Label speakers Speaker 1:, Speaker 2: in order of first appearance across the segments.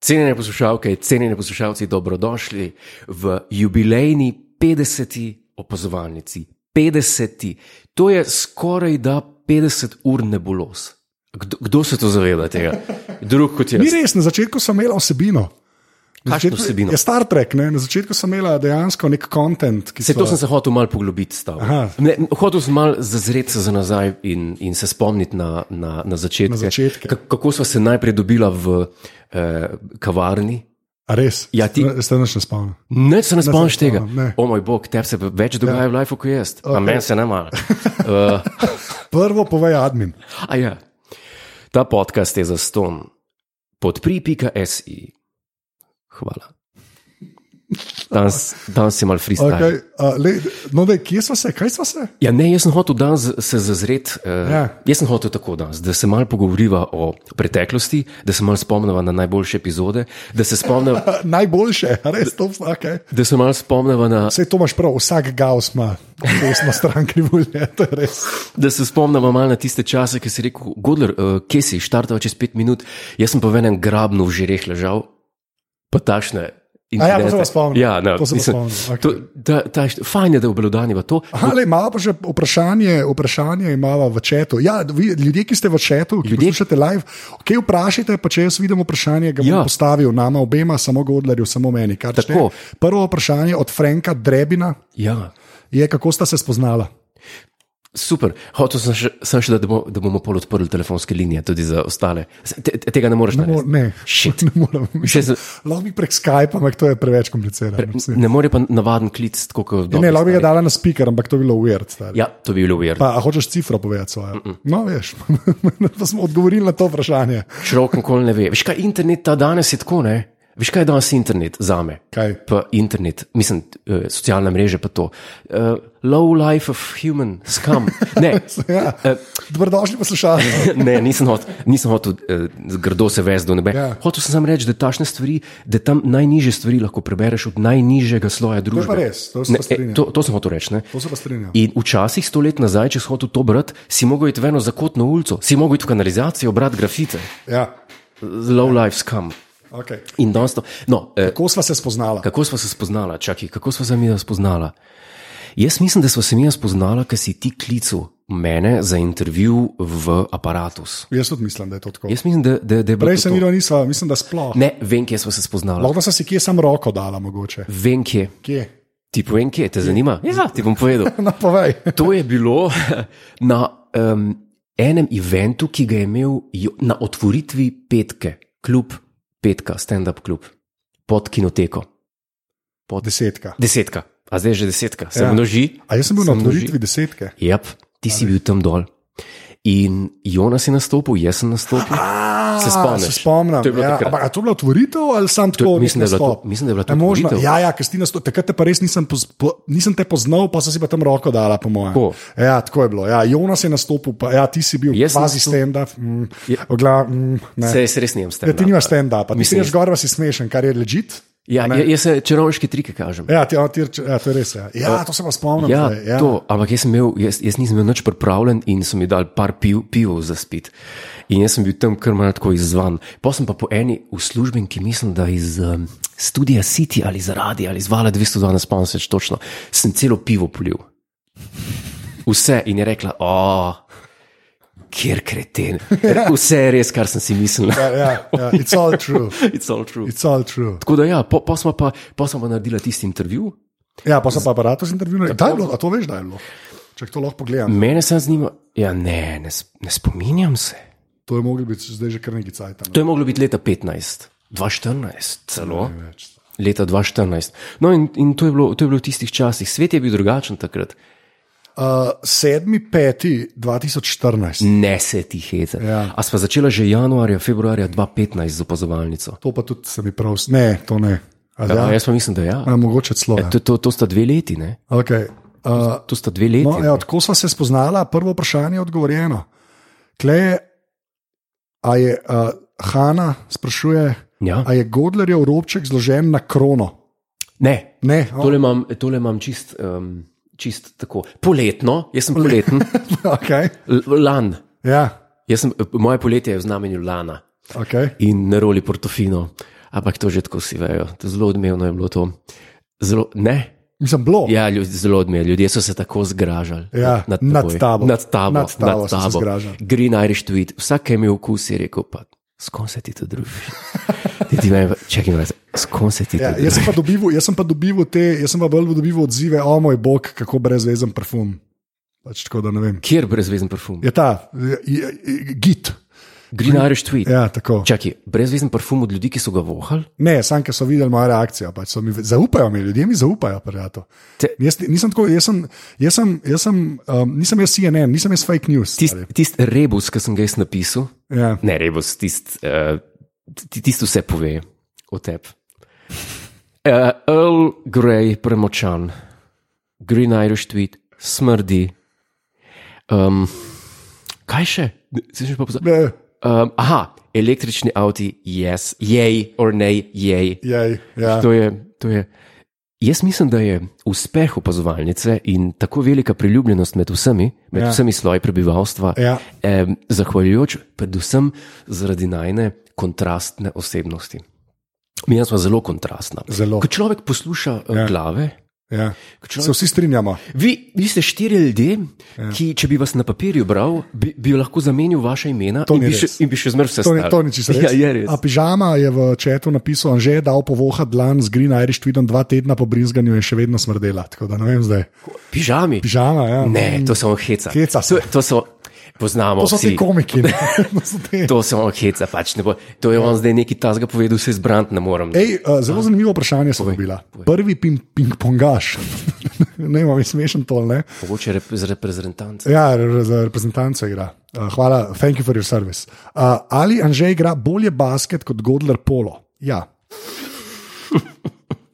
Speaker 1: Cenjene poslušalke, cenjeni poslušalci, dobrodošli v jubilejni 50. opazovalnici. 50. To je skoraj da 50 ur nebulos. Kdo, kdo se to zaveda tega? Drug kot
Speaker 2: Ni
Speaker 1: jaz.
Speaker 2: res, na začetku sem imela vsebino. Na
Speaker 1: Kakšno
Speaker 2: začetku-
Speaker 1: vsebino?
Speaker 2: Ja, Star Trek, ne? na začetku sem imela dejansko nek kontent, ki
Speaker 1: Se, to
Speaker 2: sva-
Speaker 1: sem se hotel malo poglobiti. s tabo.
Speaker 2: Aha.
Speaker 1: Ne, hotel sem malo zazreti se za nazaj in, in se spomniti na, na, na začetke.
Speaker 2: Na začetke.
Speaker 1: Ka- Kako smo se najprej dobila v eh, kavarni.
Speaker 2: A res?
Speaker 1: Ja, ti-
Speaker 2: Ste naš ne spomnim.
Speaker 1: Ne, se ne spomniš tega.
Speaker 2: spomnim, ne.
Speaker 1: O moj bog, tebi se več dogaja v lifeu kot jaz, okay. a meni se ne mara. Uh,
Speaker 2: Prvo povej admin.
Speaker 1: a ja, ta podcast je za ston. Podpri.si. Hvala. Danes, danes si mal freestyle. Okay.
Speaker 2: Okay, uh, le, no, dej, kje smo se? Kaj smo se?
Speaker 1: Ja, ne, jaz sem hotel danes se zazreti. Uh, ja.
Speaker 2: Ja.
Speaker 1: Jaz sem hotel tako danes, da se malo pogovoriva o preteklosti, da se malo spomniva na najboljše epizode, da se spomniva,
Speaker 2: Uh, najboljše, a res, to okay.
Speaker 1: da se malo spomniva na
Speaker 2: Vse to imaš prav, vsak gaus ima, vse smo stran krivulje, to je res.
Speaker 1: Da se spomnimo malo na tiste čase, ki si rekel, Godler, uh, kje si, štartava čez pet minut, jaz sem pa v enem grabnu v žireh ležal, pa tašne.
Speaker 2: A ja, to se pa spomnim.
Speaker 1: Ja, no,
Speaker 2: To se pa
Speaker 1: mislim,
Speaker 2: spomnim,
Speaker 1: to, da, ta, fajn je, da obelodaniva to.
Speaker 2: Aha, le, imamo pa še vprašanje, vprašanje imamo v četu. Ja, vi, ljudje, ki ste v četu, ki
Speaker 1: Ljudje-
Speaker 2: poslušate live, ok, vprašajte, pa če jaz vidim vprašanje, ga bom
Speaker 1: Ja.
Speaker 2: ja. postavil nama obema, samo Godlerju, samo meni. kar
Speaker 1: Tako.
Speaker 2: štej. Prvo vprašanje od Franka Drebina
Speaker 1: Ja,
Speaker 2: je, kako sta se spoznala.
Speaker 1: super. Hotel sem še, sem še da, bomo, da bomo pol odprli telefonske linije tudi za ostale. Te, te- tega ne moreš
Speaker 2: Ne, mo-
Speaker 1: narediti.
Speaker 2: ne,
Speaker 1: Shit.
Speaker 2: ne morem.
Speaker 1: Še z-
Speaker 2: Lahko bi prek Skype, ampak to je preveč komplicirano. Pre,
Speaker 1: Ne more pa navaden klic, tako kot
Speaker 2: ne,
Speaker 1: dobro.
Speaker 2: lahko bi ga dala na speaker, ampak to bi bilo weird. Stari.
Speaker 1: no, Ja, to bi bilo verjetno.
Speaker 2: Pa, a hočeš cifro povedati svoje? Mm -mm. No, veš, da smo odgovorili na to vprašanje.
Speaker 1: Človek nikoli ne ve. Veš kaj, internet ta danes je tako, ne? Veš kaj je danes internet za me?
Speaker 2: Kaj?
Speaker 1: Pa internet, mislim, eh, socialne mreže pa to. Uh, low life of human scum. Ne,
Speaker 2: Ja.
Speaker 1: Eh.
Speaker 2: Dobrodošli poslušalci.
Speaker 1: ne nisem hotel, nisem hotel uh, grdo se vesti do nebe.
Speaker 2: Ja.
Speaker 1: Yeah. Hotel sem samo reči, da tašne stvari, da tam najnižje stvari lahko prebereš od najnižjega sloja družbe.
Speaker 2: pa res, to se
Speaker 1: ne,
Speaker 2: pa
Speaker 1: eh,
Speaker 2: strinjam.
Speaker 1: to, to sem hotel reči. ne.
Speaker 2: To se pa strinjam.
Speaker 1: In včasih, sto let nazaj, če si hotel to brati, si mogel iti v eno zakotno ulico, si mogel iti v kanalizacijo, brati grafite.
Speaker 2: Ja,
Speaker 1: Low life scum.
Speaker 2: okay.
Speaker 1: In danes to. No, eh,
Speaker 2: Kako sva se spoznala?
Speaker 1: kako smo se spoznala, čakaj, kako smo se mi spoznala? Jaz mislim, da smo se mi spoznala, ker si ti klical mene za intervju v aparatus.
Speaker 2: Jaz tudi mislim, da je to tako.
Speaker 1: Jaz mislim, da, da, da je bilo
Speaker 2: Prej
Speaker 1: to
Speaker 2: sem
Speaker 1: to.
Speaker 2: videl, nisva, mislim, da sploh.
Speaker 1: Ne, vem, kje smo se spoznala.
Speaker 2: Lahko da sem si kje sam roko dala, mogoče.
Speaker 1: Vem, kje.
Speaker 2: Kje?
Speaker 1: Ti povem, kje te zanima? Ja, ti bom povedal.
Speaker 2: No, povej.
Speaker 1: To je bilo na um, enem eventu, ki ga je imel Jo- na otvoritvi petke, kljub petka, stand-up klub, pod kinoteko.
Speaker 2: Desetka.
Speaker 1: Desetka, a zdaj je že desetka, se ja.
Speaker 2: Ja.
Speaker 1: množi.
Speaker 2: A jaz sem bil na
Speaker 1: Se množi.
Speaker 2: otvoritvi desetke.
Speaker 1: Yep, ti si bil tam dol. In Jonas je nastopil, jaz sem nastopil.
Speaker 2: A,
Speaker 1: Se spomniš?
Speaker 2: Se spomnim.
Speaker 1: To je bilo
Speaker 2: ja,
Speaker 1: takrat.
Speaker 2: ampak, a to je bila otvoritev ali sam tako?
Speaker 1: mislim, da je bila
Speaker 2: nek
Speaker 1: to-
Speaker 2: nastop?
Speaker 1: mislim, da je bila to
Speaker 2: A možno?
Speaker 1: otvoritev.
Speaker 2: Ja, ja, Kristina, takrat te pa res nisem, poz, po, nisem te poznal, pa sem si pa tam roko dala, po mojem.
Speaker 1: Tako.
Speaker 2: Ja, tako je bilo. Ja, Jonas je nastopil, pa ja, ti si bil
Speaker 1: Jaz sem
Speaker 2: kvazi
Speaker 1: nastopil-
Speaker 2: stand-up. Mm, ogla, mm, ne.
Speaker 1: Se jaz res nijem
Speaker 2: Ja,
Speaker 1: stand.
Speaker 2: ti nimaš stand-upa, ti si
Speaker 1: Mislim,
Speaker 2: reš gor, pa si smešen, kar je ležit.
Speaker 1: Ja, ja- jaz se čarovniške trike kažem.
Speaker 2: Ja, ti, ja, ti, reč- ja, to je res. Ja, ja to se pa spomnim.
Speaker 1: Ja,
Speaker 2: zdaj, ja.
Speaker 1: to, ampak jaz, sem imel, jaz, jaz nisem bil nič pripravljen in so mi dali par piv, pivo za spit. In jaz sem bil tam kar malo tako izzvan. Potem sem pa po eni uslužbenki, mislim, da iz um, studia City ali iz Radia ali iz Vala 212, spomnim se več točno, sem celo pivo polil. Vse in je rekla, o, kjer kreten. Vse je res, kar sem si mislil.
Speaker 2: Ja, ja, ja, it's all true.
Speaker 1: It's all true.
Speaker 2: It's all true.
Speaker 1: Tako da ja, po, po smo pa, po smo pa naredila tisti intervju.
Speaker 2: Ja, pa sem pa aparatus intervjuval. Da je bilo, a to veš, da je bilo. Če to lahko pogledam,
Speaker 1: Mene se zanima, ja ne, ne, s- ne spominjam se.
Speaker 2: to je moglo biti zdaj že kar nekaj cajt.
Speaker 1: To je moglo biti leta 15, 2014, celo
Speaker 2: Več.
Speaker 1: leta 2014. No, in, in to, je bilo, to je bilo v tistih časih. Svet je bil drugačen takrat.
Speaker 2: Uh, 7.5.2014,
Speaker 1: Ne se ti hece.
Speaker 2: Ja.
Speaker 1: A sva začela že januarja, februarja 2015 z opazovalnico.
Speaker 2: to pa tudi se mi prav, s- ne, to ne. A
Speaker 1: Ja.
Speaker 2: Ja,
Speaker 1: Jaz pa mislim, da ja.
Speaker 2: ja, mogoče celo. Ja.
Speaker 1: To, to, to sta dve leti, ne?
Speaker 2: Okay. Uh,
Speaker 1: To sta dve leti.
Speaker 2: No, evo, tako smo se spoznala, prvo vprašanje je odgovorjeno. Kleje, a je uh, Hanna sprašuje,
Speaker 1: Ja.
Speaker 2: a je Godlerjev robček zložen na krono?
Speaker 1: Ne,
Speaker 2: Ne, o,
Speaker 1: tole imam, tole imam čist, um, čist tako. Poletno, jaz sem poleten,
Speaker 2: okay.
Speaker 1: L- lan.
Speaker 2: ja,
Speaker 1: Jaz sem, moje poletje je v znamenju lana.
Speaker 2: okay.
Speaker 1: in na roli Portofino. ampak to že tako vsi vejo. To Zelo odmevno je bilo to. Zelo, ne,
Speaker 2: Mislim, bilo.
Speaker 1: Ja, ljud, zelo odmev. Ljudje so se tako zgražali.
Speaker 2: Ja,
Speaker 1: nad,
Speaker 2: nad
Speaker 1: teboj.
Speaker 2: tabo.
Speaker 1: Nad tabo.
Speaker 2: Nad tabo so se zgražali.
Speaker 1: Green Irish tweet. Vsak ki je imel okus, je rekel: pa, S kom se ti to družiš? ti ti meni, čakaj, malo, s kom se ti to
Speaker 2: Ja,
Speaker 1: družiš?
Speaker 2: jaz, sem pa dobival, jaz sem pa dobival te, jaz sem pa bolj dobival odzive, o moj bog, kako brezvezen parfum. Pač tako da ne vem.
Speaker 1: Kjer brezvezen parfum?
Speaker 2: Je ta, je, je, je, git.
Speaker 1: Green Irish tweet.
Speaker 2: Ja, tako.
Speaker 1: Čakaj, brezvezen parfum od ljudi, ki so ga vohali.
Speaker 2: Ne, sam, ker so videli mojo reakcijo, pač so mi zaupajo, mi ljudje mi zaupajo, prijatelj.
Speaker 1: Te-
Speaker 2: Jaz ni- nisem tako, jaz sem, jaz sem, jaz sem, um, nisem jaz CNN, nisem jaz fake news.
Speaker 1: Tisti tist rebus, ki sem ga jaz napisal,
Speaker 2: stari. Ja.
Speaker 1: ne rebus, tisti, uh, tist vse pove o tebi. Uh, Earl Grey, premočan, Green Irish tweet, smrdi. Um, kaj še? Se že pa pozabil.
Speaker 2: Ne,
Speaker 1: Um, aha, električni avti, yes, jej, or nej, jej.
Speaker 2: Jej, ja.
Speaker 1: To je, to je. Jaz mislim, da je uspeh opazovalnice in tako velika priljubljenost med vsemi, med
Speaker 2: Ja.
Speaker 1: ja. vsemi sloji prebivalstva,
Speaker 2: Ja.
Speaker 1: eh, zahvaljujoč predvsem zaradi najne kontrastne osebnosti. Mi smo zelo kontrastna.
Speaker 2: Zelo.
Speaker 1: Ko človek posluša ja. glave,
Speaker 2: Ja.
Speaker 1: ko
Speaker 2: Se
Speaker 1: človek,
Speaker 2: vsi strinjamo.
Speaker 1: vi, vi ste štiri ljudje, ja. ki, če bi vas na papirju bral, bi, bi lahko zamenil vaše imena
Speaker 2: To
Speaker 1: in bi,
Speaker 2: ni
Speaker 1: še,
Speaker 2: res.
Speaker 1: in bi še zmeraj vse
Speaker 2: To ni,
Speaker 1: stali.
Speaker 2: to ni čisto res.
Speaker 1: Ja, je res.
Speaker 2: A pižama je v četu napisal, že je dal povoha dlan z Green Irish tweetom, dva tedna po brizganju je še vedno smrdela. Tako da ne vem zdaj.
Speaker 1: Pižami.
Speaker 2: Pižama, ja.
Speaker 1: Ne, to samo heca.
Speaker 2: Heca
Speaker 1: To, to so, poznamo
Speaker 2: To so
Speaker 1: vsi.
Speaker 2: ti komiki. ne. To so ti-
Speaker 1: To samo heca, pač ne bo. To je on zdaj neki tasga povedal, se izbrant ne morem.
Speaker 2: Ej, uh, zelo
Speaker 1: Ah.
Speaker 2: zanimivo vprašanje so bila. Prvi ping- ping-pongaš. ne vem, ali je smešen to, ali ne?
Speaker 1: Mogoče rep, z reprezentanci.
Speaker 2: Ja, re- za reprezentanco igra. Uh, hvala, thank you for your service. Uh, ali Anže igra bolje basket kot Godler Polo? Ja.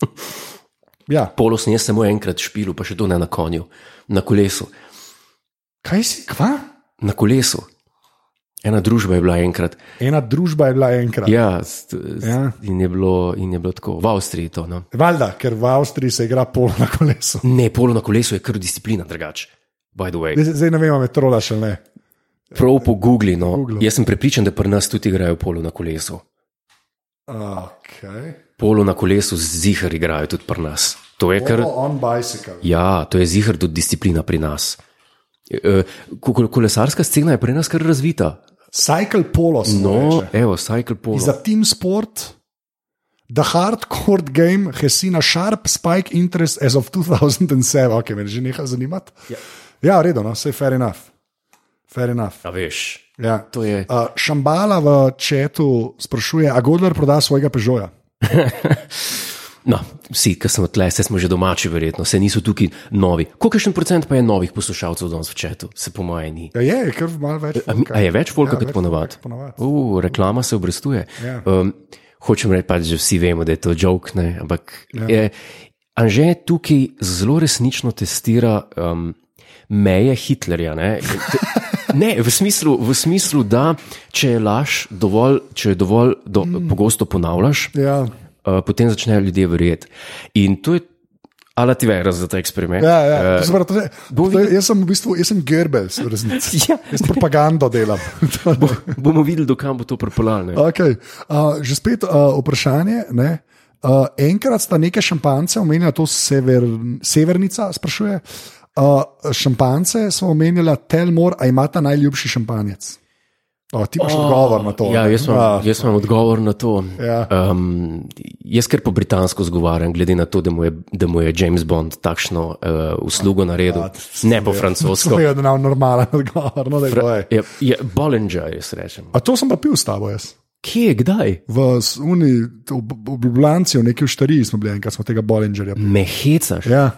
Speaker 2: ja.
Speaker 1: Polo sem jaz samo enkrat špil, pa še to ne na konju, na kolesu.
Speaker 2: Kaj si, kva?
Speaker 1: Na kolesu. Ena družba je bila enkrat.
Speaker 2: Ena družba je bila enkrat.
Speaker 1: Ja, s, s,
Speaker 2: Ja.
Speaker 1: ja. In, je bilo, in je bilo tako. V Avstriji to. No.
Speaker 2: Valjda, ker v Avstriji se igra polo na kolesu.
Speaker 1: Ne, polo na kolesu je kar disciplina drugače. By the way.
Speaker 2: Zdaj zdaj ne vem, ali je trola še ali ne.
Speaker 1: Prav po Google, no.
Speaker 2: Googlu.
Speaker 1: Jaz sem prepričan, da pri nas tudi igrajo polo na kolesu.
Speaker 2: Okay.
Speaker 1: Polo na kolesu zihar igrajo tudi pri nas. To je kar.
Speaker 2: Polo on bicycle.
Speaker 1: Ja, to je zihar tudi disciplina pri nas. E, ko- ko- Kolesarska scena je pri nas kar razvita.
Speaker 2: Cycle polo. se
Speaker 1: No,
Speaker 2: reče.
Speaker 1: evo, cycle polo.
Speaker 2: za Team Sport, The Hardcore Game, Hesina Sharp, Spike Interest as of 2007, ok, me je že neha zanimati. Ja, ja redno, no, vse je fair enough. Fair enough.
Speaker 1: A veš,
Speaker 2: Ja.
Speaker 1: to je.
Speaker 2: Uh, Šambala v četu sprašuje, a Godler proda svojega Pežoja.
Speaker 1: No, vsi, ki smo tle, se smo že domači, verjetno, se niso tukaj novi. Kolikšen procent pa je novih poslušalcev danes v četu, se po mojem ni.
Speaker 2: Ja, je, je kar malo več.
Speaker 1: Eh, A, mi, a je več folka
Speaker 2: Ja,
Speaker 1: ja, kot
Speaker 2: več
Speaker 1: ponavadi?
Speaker 2: folka kot ponavadi.
Speaker 1: Uh, reklama se obrestuje.
Speaker 2: Ja.
Speaker 1: Um, hočem reči, pač, da vsi vemo, da je to žog, ampak ja. Anže tukaj zelo resnično testira um, meje Hitlerja. Ne? Te- Ne, v smislu, v smislu, da če je laž dovolj, če jo dovolj do, mm. pogosto ponavljaš,
Speaker 2: Ja,
Speaker 1: uh, potem začnejo ljudje verjeti. In to je alativera za ta eksperiment.
Speaker 2: ja, ja. To se pravi, to je,
Speaker 1: Eh, bo
Speaker 2: to je, jaz sem v bistvu jaz sem Goebbels, v resnici.
Speaker 1: Ja.
Speaker 2: Jaz propagando delam.
Speaker 1: Uh, bomo videli, dokam bo to pripeljalo. ne.
Speaker 2: Okay. Uh, že spet uh, vprašanje. Ne? Uh, enkrat sta neke šampance, omenjala to sever, Severnica, sprašuje. Uh, šampance smo omenjala Telmor, a imata najljubši šampanjec. O, ti imaš oh, odgovor na to.
Speaker 1: Ja,
Speaker 2: ne?
Speaker 1: jaz imam,
Speaker 2: A,
Speaker 1: jaz imam odgovor na to.
Speaker 2: Ja.
Speaker 1: Um, jaz kar po britansko zgovarjam, glede na to, da mu je, da mu je James Bond takšno uh, uslugo naredil, ne po francosko.
Speaker 2: Slovenija Ah, je dal normalen odgovor. No, daj, povej.
Speaker 1: Je, je Bollinger, jaz rečem.
Speaker 2: A to sem pa pil s tabo jaz.
Speaker 1: Kje, kdaj?
Speaker 2: V s- Uni, v- v v Ljubljanci, v neki v Štariji smo bili enkrat, smo tega Bollingerja. pili.
Speaker 1: Mehecaš.
Speaker 2: Ja.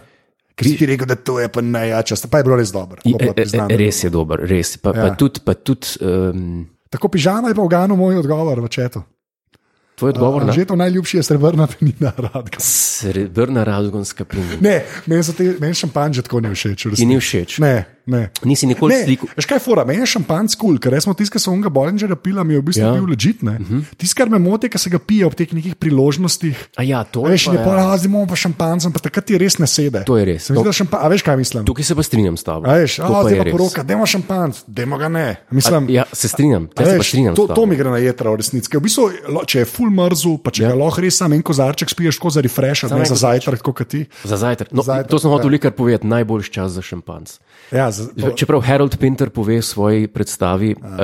Speaker 2: Ker si ti rekel, da to je pa najjača, stvar, pa je bilo res dobro. to
Speaker 1: Je,
Speaker 2: pa priznam, da je
Speaker 1: E, res je dober, res. Pa, ja. pa tudi, pa tudi um,
Speaker 2: Tako pižama je pa v Ganu moj odgovor v četu. Ah,
Speaker 1: tvoj odgovor na
Speaker 2: Že to najljubši je srebrna penina, radka.
Speaker 1: srebrna radgonska plina.
Speaker 2: Ne, meni so te, meni šampanj že tako ne všeč. v
Speaker 1: Ti
Speaker 2: resnici.
Speaker 1: ni všeč.
Speaker 2: Ne, Ne.
Speaker 1: Nisi nikoli
Speaker 2: Ne,
Speaker 1: slikal.
Speaker 2: veš kaj je fora, meni je šampanc kul, cool, ker jaz smo tisti, ki so unga Bollingerja pila, mi je v bistvu
Speaker 1: Ja. Mhm.
Speaker 2: ja. bil ležit. Uh -huh. Tisti, kar me moti, je, ker se ga pije ob teh nekih priložnostih.
Speaker 1: A ja, to je
Speaker 2: Veš,
Speaker 1: pa,
Speaker 2: ne
Speaker 1: ja.
Speaker 2: porazimo pa šampancem, pa takrat ti res ne sede.
Speaker 1: To je res.
Speaker 2: Se mi Zdi, da šampa, a veš, kaj mislim?
Speaker 1: Tukaj se pa strinjam s tabo.
Speaker 2: A veš,
Speaker 1: To
Speaker 2: a,
Speaker 1: pa
Speaker 2: zdaj
Speaker 1: je
Speaker 2: pa
Speaker 1: res.
Speaker 2: poroka, dajmo šampanc, dajmo ga ne. Mislim,
Speaker 1: Ja, se strinjam,
Speaker 2: a
Speaker 1: te se pa
Speaker 2: veš,
Speaker 1: strinjam.
Speaker 2: to,
Speaker 1: s tabo.
Speaker 2: to mi gre na jedra, v resnici. Ker V bistvu, lo- če je full mrzel, pa če ja. ga lahko res sam en kozarček spiješ, tako za refresh, ne
Speaker 1: en
Speaker 2: za zajtrk, kot ti.
Speaker 1: Za zajtrk. No,
Speaker 2: Zajtrk,
Speaker 1: to sem hotel
Speaker 2: ja.
Speaker 1: velikokrat povedati, najboljši čas za šampanc.
Speaker 2: Ja, za, to,
Speaker 1: Čeprav Harold Pinter pove v svoji predstavi uh,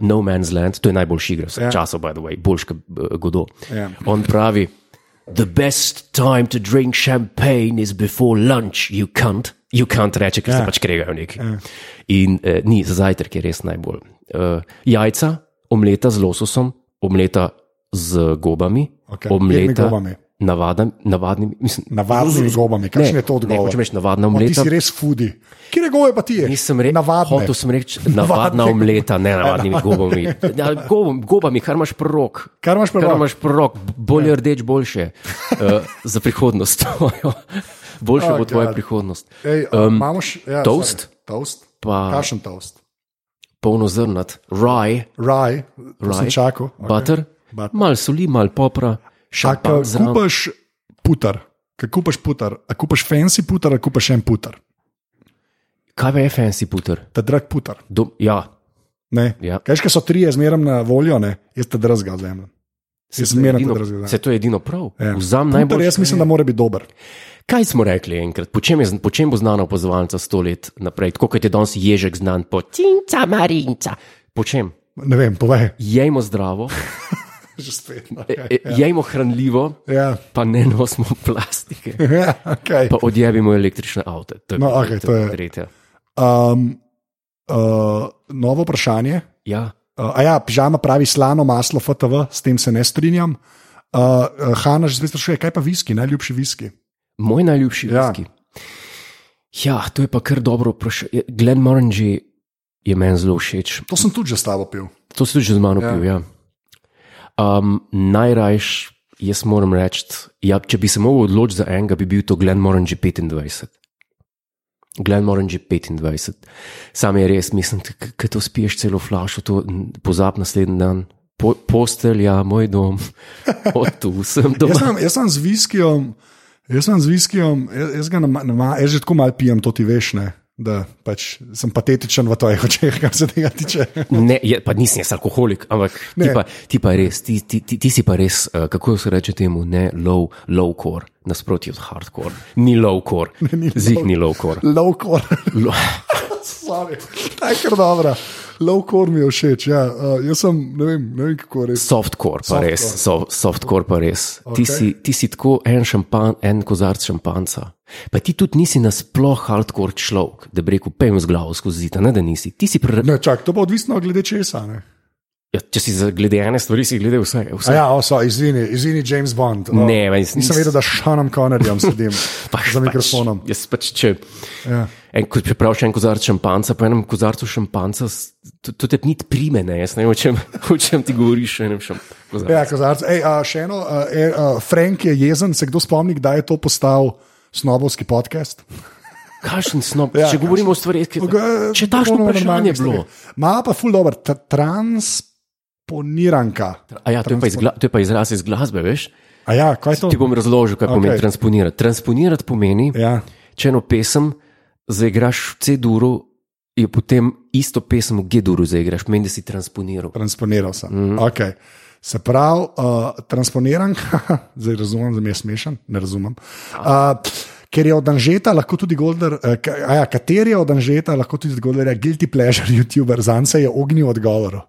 Speaker 1: No Man's Land, to je najboljši igra vseh
Speaker 2: Ja.
Speaker 1: yeah. časov, by the way, boljš kot uh, Godo.
Speaker 2: Ja.
Speaker 1: Yeah. On pravi: The best time to drink champagne is before lunch, you can't. You can't reče,
Speaker 2: Ja.
Speaker 1: ker yeah. se pač kregajo neki. Yeah. In uh, ni, za zajtrk je res najbolj. Uh, jajca, omleta z lososom, omleta z gobami,
Speaker 2: Okej, jedmi
Speaker 1: omleta
Speaker 2: gobami.
Speaker 1: navadan, navadnimi, mislim,
Speaker 2: Navadnimi gobami, kakšen je to
Speaker 1: ne,
Speaker 2: odgovor?
Speaker 1: hočem reči, navadna
Speaker 2: O, ti
Speaker 1: omleta.
Speaker 2: si res hudi. Kje gove pa ti je?
Speaker 1: Nisem rekel,
Speaker 2: Navadne.
Speaker 1: hotel sem reči navadna
Speaker 2: Navadne.
Speaker 1: omleta, ne navadnimi gobami. Ja, gobom, gobami, kar imaš prorok.
Speaker 2: Kar imaš pri
Speaker 1: Kar
Speaker 2: roki.
Speaker 1: imaš prorok,
Speaker 2: Ja.
Speaker 1: bolje rdeč, boljše uh, za prihodnost. tvojo. Boljša
Speaker 2: Oh,
Speaker 1: bo tvoja
Speaker 2: God.
Speaker 1: prihodnost.
Speaker 2: Ej, um, imamo še ja,
Speaker 1: toast?
Speaker 2: sorry, Toast.
Speaker 1: Pa-
Speaker 2: Kašen toast.
Speaker 1: Polnozrnat, raj,
Speaker 2: Raj, to sem
Speaker 1: Raj,
Speaker 2: čakal.
Speaker 1: okay. butter,
Speaker 2: Butter.
Speaker 1: mal soli, mal popra, šampan
Speaker 2: Okay.
Speaker 1: zraven.
Speaker 2: Kupaš putar, kaj kupaš putar, a kupaš fancy putar, a kupaš en putar,
Speaker 1: Kaj pa je fancy puter?
Speaker 2: ta drag putar.
Speaker 1: Do, ja,
Speaker 2: Ne.
Speaker 1: Ja.
Speaker 2: Kaj še so tri, jaz zmeram na voljo, ne? jaz te drzga zemljo.
Speaker 1: se to
Speaker 2: Jaz
Speaker 1: je
Speaker 2: zmeram te
Speaker 1: edino-
Speaker 2: drzga
Speaker 1: se
Speaker 2: zemljo.
Speaker 1: to je edino prav.
Speaker 2: Ja.
Speaker 1: Ja. Vzam
Speaker 2: Putar,
Speaker 1: najbolj.
Speaker 2: jaz mislim, da mora biti dober.
Speaker 1: Kaj smo rekli enkrat, po čem, je, zn- po čem bo znana opazovalnica sto let naprej, tako kot je danes ježek znan po cinca marinca? Po čem?
Speaker 2: Ne vem, povej.
Speaker 1: Jejmo zdravo,
Speaker 2: Že spet. no,
Speaker 1: e, e, jejmo hranljivo,
Speaker 2: Ja,
Speaker 1: pa ne nosimo plastike,
Speaker 2: ja okay.
Speaker 1: pa odjavimo električne avto.
Speaker 2: No, okej, to je-
Speaker 1: Tretja.
Speaker 2: um, uh, novo vprašanje.
Speaker 1: Ja,
Speaker 2: Uh, a ja, pižama pravi slano maslo, FTV, s tem se ne strinjam. Uh, uh, Hanna že zdaj sprašuje, kaj pa viski, najljubši viski.
Speaker 1: moj najljubši
Speaker 2: Ja.
Speaker 1: viski. Ja. ja, to je pa kar dobro vprašanje. Glen Morangi je meni zelo všeč.
Speaker 2: To sem tudi že s tabo pil.
Speaker 1: To si tudi že z mano ja. pil. Ja. Um, Najrajš, jaz moram reči, ja, če bi se lahko odločil za enega, bi bil to Glenmoran že 25. Glenmoran že 25. Sam je res, mislim, da to spiješ celo flašo, to n- pozab naslednji dan. Po, postelja, moj dom, od tu sem
Speaker 2: Jaz
Speaker 1: doma.
Speaker 2: sem, jaz sem z viskijem, jaz sem z viskijem, jaz, jaz ga nama, nama, jaz že tako malo pijem, to ti veš, ne? da pač sem patetičen v tvojih očeh, kar se tega tiče.
Speaker 1: Ne, je, pa nisem jaz alkoholik, ampak ti
Speaker 2: Ne.
Speaker 1: pa, ti pa res, ti, ti, ti, ti si pa res, uh, kako se reče temu, ne low, low core, nasproti od hardcore. Ni low core,
Speaker 2: ni low-
Speaker 1: zig ni low core.
Speaker 2: Lovkor,
Speaker 1: Lo-
Speaker 2: tako je dobro. Lovkor mi je všeč. Ja. Uh, jaz sem, ne vem, ne vem kako res.
Speaker 1: Softcore, pa res, so, softcore pa res. Okay. Ti, si, ti si tako en šampan, en kozarc šampanca. Pa ti tudi nisi nasploh hardcore človek, da bi rekel, pejem z glavo skozi zid, a ne da nisi. Ti si pre...
Speaker 2: Ne, čak, to bo odvisno od glede česa. Ne?
Speaker 1: ja, če si za- glede ene stvari, si glede vse.
Speaker 2: A
Speaker 1: vse.
Speaker 2: Ja, oso, izvini, izvini, James Bond. O,
Speaker 1: Ne, meni se
Speaker 2: nisem
Speaker 1: nis-
Speaker 2: vedel, da s Seanom Connerjem sedim za mikrofonom.
Speaker 1: Pač, jaz pač, če,
Speaker 2: Ja.
Speaker 1: en, ko- če praviš en kozarc šampanca, pa enem kozarcu šampanca, s- to, to te ni prime, ne, jaz ne vem, o čem, o čem ti govoriš, še enem šampancu.
Speaker 2: Ja, kozarc. Ej, a, še eno, a, e, a, Frank je jezen, se kdo spomni, kdaj je to postal snobovski podcast?
Speaker 1: Kakšen snob, ja,
Speaker 2: Ja,
Speaker 1: če
Speaker 2: kakšen-
Speaker 1: govorimo o stvareh, ki
Speaker 2: Ga-
Speaker 1: Če takšno
Speaker 2: popolnoma
Speaker 1: vprašanje je
Speaker 2: normalnih
Speaker 1: bilo.
Speaker 2: stvari. Ma pa ful dobro, ta transponiranka.
Speaker 1: A ja, to je, pa iz, gla- to je pa izraz iz glasbe, veš?
Speaker 2: A ja, kaj je to?
Speaker 1: Ti bom razložil, kaj okay. pomeni transponirati. Transponirati pomeni, ja.
Speaker 2: Ja,
Speaker 1: če eno pesem zaigraš v C-duru, je potem isto pesem v G-duru zaigraš, meni da si transponiral.
Speaker 2: transponiral sem. Mm.
Speaker 1: Mhm.
Speaker 2: Okay. Se pravi, uh, transponiran, zdaj razumem, da mi je smešen, ne razumem. Uh, ker je od Anžeta lahko tudi Golder, uh, ja, kateri je od Anžeta lahko tudi Golder, guilty pleasure, YouTuber, zanj se je ognil odgovoru.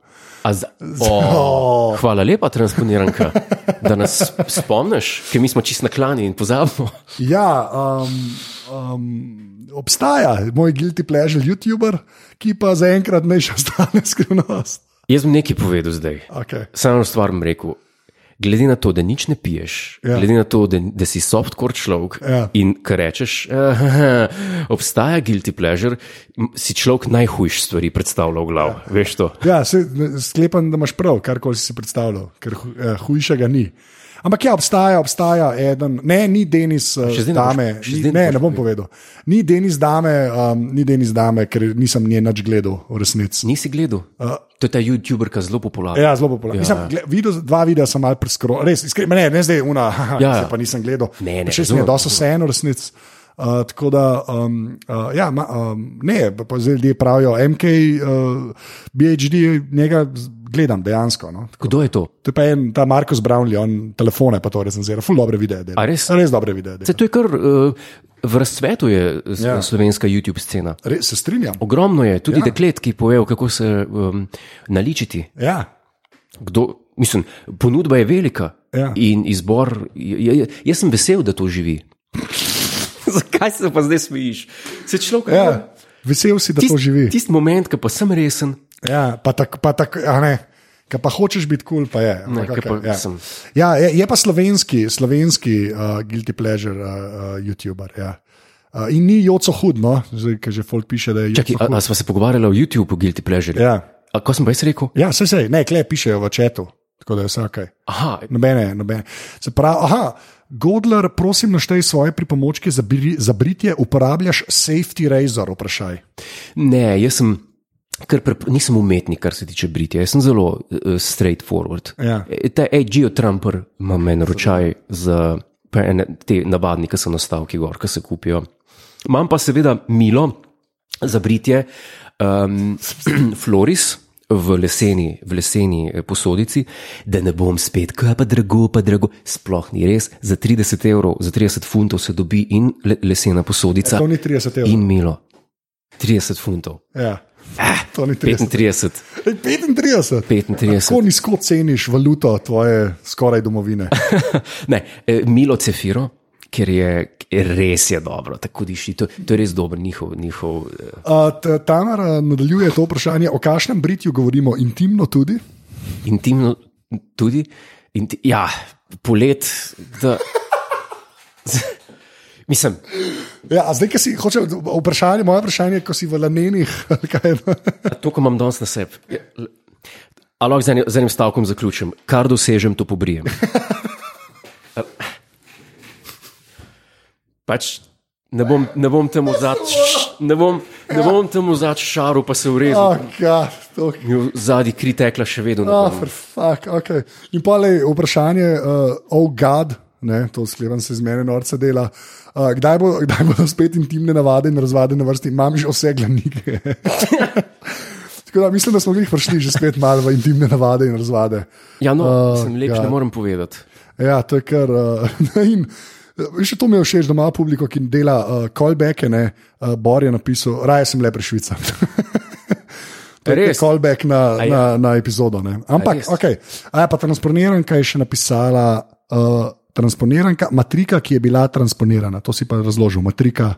Speaker 1: A Za, o, hvala lepa, transponiranka, da nas spomniš, ker mi smo čist na klani in pozabimo.
Speaker 2: Ja, um, um, obstaja moj guilty pleasure, YouTuber, ki pa zaenkrat ne še ostane skrivnost.
Speaker 1: Jaz bom nekaj povedal zdaj.
Speaker 2: Okay.
Speaker 1: Samo stvar bom rekel. Glede na to, da nič ne piješ, ja.
Speaker 2: Ja.
Speaker 1: glede na to, da, da si softcore človek
Speaker 2: Ja.
Speaker 1: in kar rečeš, eh, obstaja guilty pleasure, m, si človek najhujš stvari predstavlja v glavu. Ja. Veš to?
Speaker 2: Ja, se, sklepam, da imaš prav, kar koli si si predstavljal, ker hu- eh, hujšega ni. Ampak ja, obstaja, obstaja eden, ne, ni Denis eh,
Speaker 1: še zdaj ne
Speaker 2: Dame,
Speaker 1: boš- še
Speaker 2: ni,
Speaker 1: zdaj ne
Speaker 2: ne,
Speaker 1: boš
Speaker 2: ne bom povedal. Ni Denis Dame, um, ni Denis Dame, ker nisem nje nič gledal, v resnici.
Speaker 1: Nisi gledal? To je ta YouTuber, ki je zelo popularen.
Speaker 2: Ja, zelo
Speaker 1: Ja,
Speaker 2: popularen. Mislim,
Speaker 1: ja.
Speaker 2: gled, videl, dva videa sem malo preskoro, res, iskreno, ne, ne zdaj una,
Speaker 1: Ja,
Speaker 2: ja,
Speaker 1: ja.
Speaker 2: ja. pa nisem gledal.
Speaker 1: Ne, ne,
Speaker 2: še sem
Speaker 1: razumem,
Speaker 2: dosto vseeno resnic. Uh, tako da, um, uh, ja, ma, um, ne, pa- pa zdaj ljudje pravijo, MK, uh, BHD, njega z- gledam dejansko. No.
Speaker 1: Kdo je to?
Speaker 2: To je pa en, ta Markus Brownlee, on telefone pa to recenzira, ful dobre videe. dela.
Speaker 1: A res?
Speaker 2: Res dobre videe. dela.
Speaker 1: Se to je kar uh, v razcvetu je s-
Speaker 2: Ja.
Speaker 1: slovenska YouTube scena.
Speaker 2: Res, se strinjam.
Speaker 1: Ogromno je tudi
Speaker 2: Ja.
Speaker 1: ja. deklet, ki povejo, kako se um, naličiti.
Speaker 2: Ja.
Speaker 1: Kdo, mislim, ponudba je velika
Speaker 2: Ja.
Speaker 1: in izbor. Je, je, jaz sem vesel, da to živi. Zakaj se pa zdaj smejiš? Se človek
Speaker 2: Ja. Vesel si, da to živi.
Speaker 1: Tisti moment, ki pa sem resen,
Speaker 2: Ja, pa tako, pa tak, a ne. Kaj pa hočeš biti kul, cool, pa je.
Speaker 1: Ne,
Speaker 2: Ampak
Speaker 1: ke pa
Speaker 2: okej, ja.
Speaker 1: sem.
Speaker 2: Ja, je, je pa slovenski, slovenski uh, guilty pleasure uh, uh, YouTuber. Ja. Uh, in ni joco hudno, ker že folk piše, da je
Speaker 1: čakaj,
Speaker 2: joco
Speaker 1: a, a
Speaker 2: hud.
Speaker 1: sva se pogovarjala o YouTubu, guilty pleasure.
Speaker 2: Ja,
Speaker 1: A, ko sem pa jaz rekel?
Speaker 2: ja se se, ne, kle pišejo v četu, tako da je vse ok.
Speaker 1: Aha,
Speaker 2: Nobene, nobene. Se pravi, aha, Godler, prosim, naštej svoje pripomočke za, bri, za britje, uporabljaš safety razor, vprašaj.
Speaker 1: ne, jaz sem. Ker prep, nisem umetnik, kar se tiče britja, jaz sem zelo uh, straightforward.
Speaker 2: Ja.
Speaker 1: E, Ta Edgeo Trumper ima meni naročaj za pa ene, te navadne, ki so nastavki gor, ki se kupijo. Imam pa seveda milo za britje, um, floris. V leseni, v leseni eh, posodici, da ne bom spet, kaj pa drago, pa drago, sploh ni res. Za 30 evrov, za 30 funtov se dobi in le, lesena posodica,
Speaker 2: E, To ni 30 evrov.
Speaker 1: in milo. 30 funtov, Eh,
Speaker 2: Ja. To ni 30.
Speaker 1: 35.
Speaker 2: 35.
Speaker 1: 35.
Speaker 2: Kako nizko ceniš valuto tvoje skoraj domovine?
Speaker 1: ne, eh, Milo Cefiro, ker je res je dobro, tako diši. To, to je res dober njihov. njihov eh,
Speaker 2: Uh, t- Tamara nadaljuje to vprašanje, o kakšnem britju govorimo intimno tudi.
Speaker 1: intimno tudi. Inti, ja, polet. Da, mislim,
Speaker 2: Ja, a zdaj, ki si hoče, vprašanje, moje vprašanje, ko si v Lanenih, ali kaj je.
Speaker 1: to, kar imam danes na sebi. je- l- A lahko z enim- z enim stavkom zaključim, kar dosežem, to pobrijem. Pač ne bom, ne bom temu zadnji, ne bom, ne bom temu zadnji šaru, pa se urezal.
Speaker 2: Oh, God, to,
Speaker 1: Zadnji kri tekla še vedno.
Speaker 2: Oh,
Speaker 1: Oh.
Speaker 2: for fuck, okay. In pa le vprašanje, uh, oh, God, ne, to sklepam se iz mene, norce dela. Uh, kdaj, bo, kdaj bodo spet intimne navade in razvade na vrsti, imam že vse glanike. Tako da mislim, da smo jih prišli že spet malo v intimne navade in razvade.
Speaker 1: Ja, no,
Speaker 2: Oh,
Speaker 1: oh, sem lepš,
Speaker 2: God.
Speaker 1: ne morem povedati.
Speaker 2: Ja, to je kar. Uh, in, Še to mi je všeč, da ima publiko, ki dela uh, callbacke. Ne, uh, Bor je napisal, raje sem le prešvica. to je
Speaker 1: Res?
Speaker 2: callback na,
Speaker 1: A ja.
Speaker 2: na, na epizodo. Ne. Ampak,
Speaker 1: res?
Speaker 2: ok. A ja, pa transponiranka je še napisala, uh, transponiranka, matrika, ki je bila transponirana. To si pa razložil. Matrika,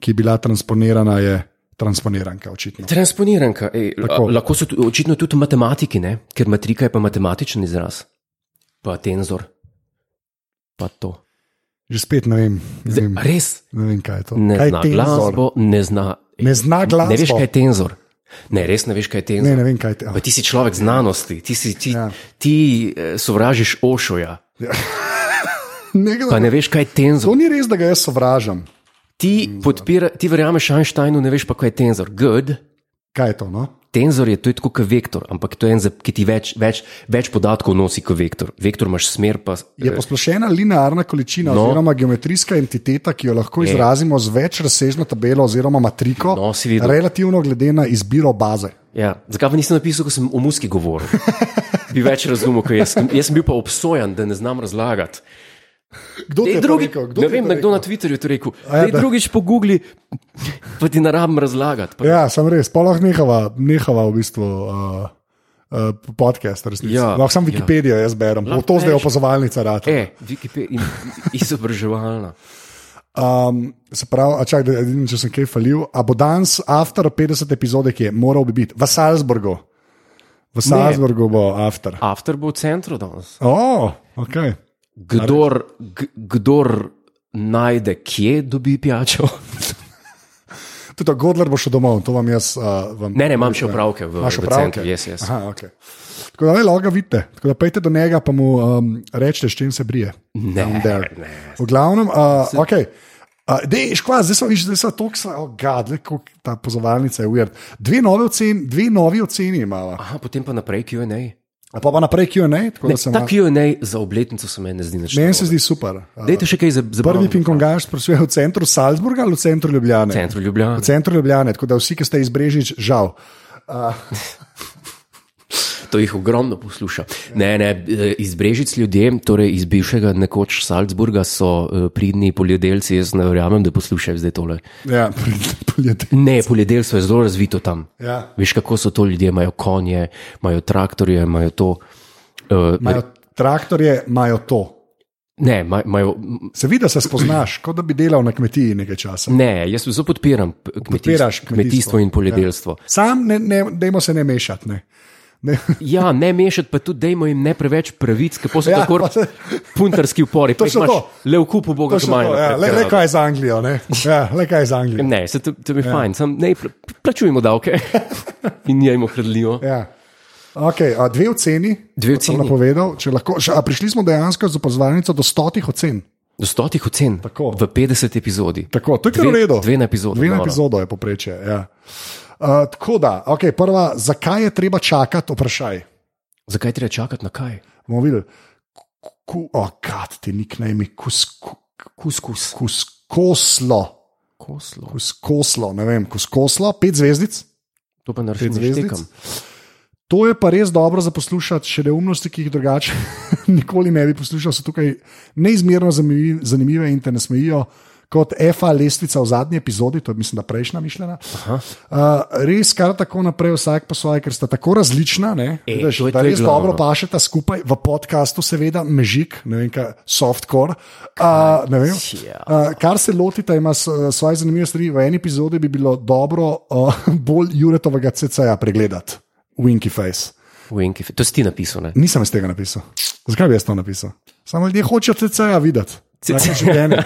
Speaker 2: ki je bila transponirana, je transponiranka, očitno.
Speaker 1: Transponiranka. Ej, a,
Speaker 2: Tako.
Speaker 1: lahko so tu- očitno tudi matematiki, ne? ker matrika je pa matematičen izraz, pa tenzor. Pa to.
Speaker 2: Že spet ne vem, ne
Speaker 1: Zdaj,
Speaker 2: vem,
Speaker 1: res
Speaker 2: ne vem kaj je to.
Speaker 1: ne
Speaker 2: kaj
Speaker 1: zna
Speaker 2: tenzor?
Speaker 1: glasbo, ne zna.
Speaker 2: Ne zna
Speaker 1: Ne veš,
Speaker 2: glasbo.
Speaker 1: kaj je tenzor. Ne, res ne veš, kaj je tenzor.
Speaker 2: Ne, ne vem, kaj je to.
Speaker 1: Pa ti si človek znanosti, ti, si, ti,
Speaker 2: Ja.
Speaker 1: ja. ti eh, sovražiš ošoja,
Speaker 2: Nekdo-
Speaker 1: pa ne veš, kaj je tenzor.
Speaker 2: To ni res, da ga jaz sovražam.
Speaker 1: Ti, podpira, ti verjameš Einsteinu, ne veš pa, kaj je tenzor. Good.
Speaker 2: Kaj je to? No?
Speaker 1: Tenzor je, to je tako kot vektor, ampak to je en, za- ki ti več, več, več podatkov nosi kot vektor. Vektor imaš smer, pa
Speaker 2: Je posplošena linearna količina,
Speaker 1: No.
Speaker 2: no. oziroma geometrijska entiteta, ki jo lahko izrazimo z večrazsežno tabelo oziroma matriko,
Speaker 1: No, si videl.
Speaker 2: relativno glede na izbiro baze.
Speaker 1: Ja. Zakaj pa nisem napisal, ko sem o muski govoril? Bi več razumel, ker jaz, jaz sem bil pa obsojen, da ne znam razlagati.
Speaker 2: Kdo
Speaker 1: Dej
Speaker 2: je
Speaker 1: drugi,
Speaker 2: rekel? Kdo
Speaker 1: ne
Speaker 2: ti je
Speaker 1: vem,
Speaker 2: to
Speaker 1: nekdo na
Speaker 2: rekel?
Speaker 1: Twitterju je to rekel.
Speaker 2: ja,
Speaker 1: Ja,
Speaker 2: da.
Speaker 1: drugič pogubli, pa ti ne rabim razlagati. Pa,
Speaker 2: Ja, sem res, pa lahko nehava, nehava v bistvu. Uh, Uh, podcast, resnici.
Speaker 1: Ja,
Speaker 2: Ja, Lahko sem
Speaker 1: ja.
Speaker 2: Wikipedijo, jaz berem, bo to zdaj
Speaker 1: bereš.
Speaker 2: opazovalnica rata.
Speaker 1: E, Wikipedia in izobraževalna.
Speaker 2: Um, se pravi, a čak, da vidim, če sem kaj falil. A bo danes, after 50 epizode, ki je moral bi biti v Salzburgu. V Salzburgu bo after.
Speaker 1: Avtor bo v centru danes.
Speaker 2: Oh, okay.
Speaker 1: Kdor, g- kdor najde, kje dobi pijačo?
Speaker 2: Tudi to Godler bo šel domov, to vam jaz. Uh, vam
Speaker 1: Ne, ne, imam še opravke v,
Speaker 2: Imaš
Speaker 1: v
Speaker 2: opravke?
Speaker 1: centru. Yes, yes.
Speaker 2: Aha, okay. Tako Tako da ne, lahko ga vidite. Tako da pejte do njega, pa mu um, rečete, s čim se brije.
Speaker 1: Ne,
Speaker 2: Down there.
Speaker 1: ne.
Speaker 2: V glavnem, uh, ok. Uh, dej, škva, zdaj smo viš, zdaj smo toksla, oh, gadle, kako ta pozovalnica je ujerd. Dve nove oceni, dve novi oceni imamo.
Speaker 1: Aha, potem pa naprej QA. Ne,
Speaker 2: Pa pa naprej Q&A, tako da sem
Speaker 1: ta
Speaker 2: lahko.
Speaker 1: QA za obletnico se meni ne zdi nič.
Speaker 2: Meni se zdi super. Uh,
Speaker 1: Dajte še kaj za, za
Speaker 2: Prvi pingpongaš sprašuje v centru Salzburga ali v centru Ljubljane?
Speaker 1: v centru Ljubljana.
Speaker 2: V centru Ljubljane, tako da vsi, ki ste izbrežič, žal.
Speaker 1: To jih ogromno posluša. Ne, ne, eh, iz Brežic ljudem, torej iz bivšega nekoč Salzburga, so eh, pridni poljedelci. Jaz ne verjamem, da poslušajo zdaj tole.
Speaker 2: Ja, pridite, pojdite.
Speaker 1: Ne, poljedelstvo je zelo razvito tam.
Speaker 2: Ja.
Speaker 1: Veš, kako so to ljudje, imajo konje, imajo traktorje, imajo to. eh,
Speaker 2: Imajo traktorje, imajo to.
Speaker 1: Ne, ima- imajo. m,
Speaker 2: Seveda se spoznaš, kot da bi delal na kmetiji nekaj časa.
Speaker 1: Ne, jaz zelo podpiram p-
Speaker 2: Podpiraš Ja.
Speaker 1: kmetijstvo, kmetijstvo in poljedelstvo.
Speaker 2: Sam ne, ne, dajmo se ne mešati. Ne. Ne.
Speaker 1: Ja, ne mešati, pa tudi dajmo jim ne preveč pravic, ker so
Speaker 2: Ja,
Speaker 1: ja, tako
Speaker 2: pa se-
Speaker 1: puntarski upori. pa jih
Speaker 2: Točno
Speaker 1: imaš
Speaker 2: to.
Speaker 1: Le v kupu Boga,
Speaker 2: Točno to, ja, le, le kaj je z Anglijo, ne? Ja, le kaj je z Anglijo.
Speaker 1: Ne, se to, to mi je ja. fajn, sam ne pl plačujemo davke in jajmo hrdljivo.
Speaker 2: Ja. Okay, a dve oceni,
Speaker 1: Dve
Speaker 2: kot sem
Speaker 1: oceni.
Speaker 2: napovedal, če lahko, še, a prišli smo dejansko z opazovalnico do stotih ocen.
Speaker 1: Do stotih ocen
Speaker 2: Tako.
Speaker 1: v 50 epizodi.
Speaker 2: Tako, to je kar v
Speaker 1: Dve-
Speaker 2: redu.
Speaker 1: dve na epizodo,
Speaker 2: Dve na
Speaker 1: noro.
Speaker 2: epizodo je poprečje. Ja. Uh, tako da, okay, prva, zakaj je treba čakati, vprašaj.
Speaker 1: Zakaj je treba čakati na kaj?
Speaker 2: Bomo videli, kako oh, God, ti niknajmi,
Speaker 1: Kuskus,
Speaker 2: kuskoslo,
Speaker 1: koslo.
Speaker 2: kuskoslo, ne vem, kuskoslo, pet zvezdic.
Speaker 1: To pa
Speaker 2: Pet
Speaker 1: naredim
Speaker 2: zvezdic.
Speaker 1: štekam.
Speaker 2: To je pa res dobro za poslušati, še neumnosti, ki jih drugače nikoli ne bi poslušal. So tukaj neizmerno zanimivi- zanimive in te nasmejijo. Kot FA lestvica v zadnji epizodi, to je mislim, da prejšnja mišljena. Uh, res kar tako naprej, vsak po svoje, ker sta tako različna, ne,
Speaker 1: E,
Speaker 2: Vidiš,
Speaker 1: to je-
Speaker 2: da
Speaker 1: to je
Speaker 2: res
Speaker 1: glavno.
Speaker 2: dobro pašeta skupaj v podkastu, seveda, mežik, ne vem, kaj, softcore. Uh, ne vem.
Speaker 1: Ja.
Speaker 2: Uh, kar se lotita, ima s- svoje zanimive stvari. V eni epizodi bi bilo dobro uh, bolj Juretovega CC-ja pregledati, Winky Face.
Speaker 1: Venki, to si ti napisal, ne?
Speaker 2: Nisem iz tega napisal. Zakaj bi jaz to napisal? Samo ljudje hočejo CC-ja videti. Tako življenje.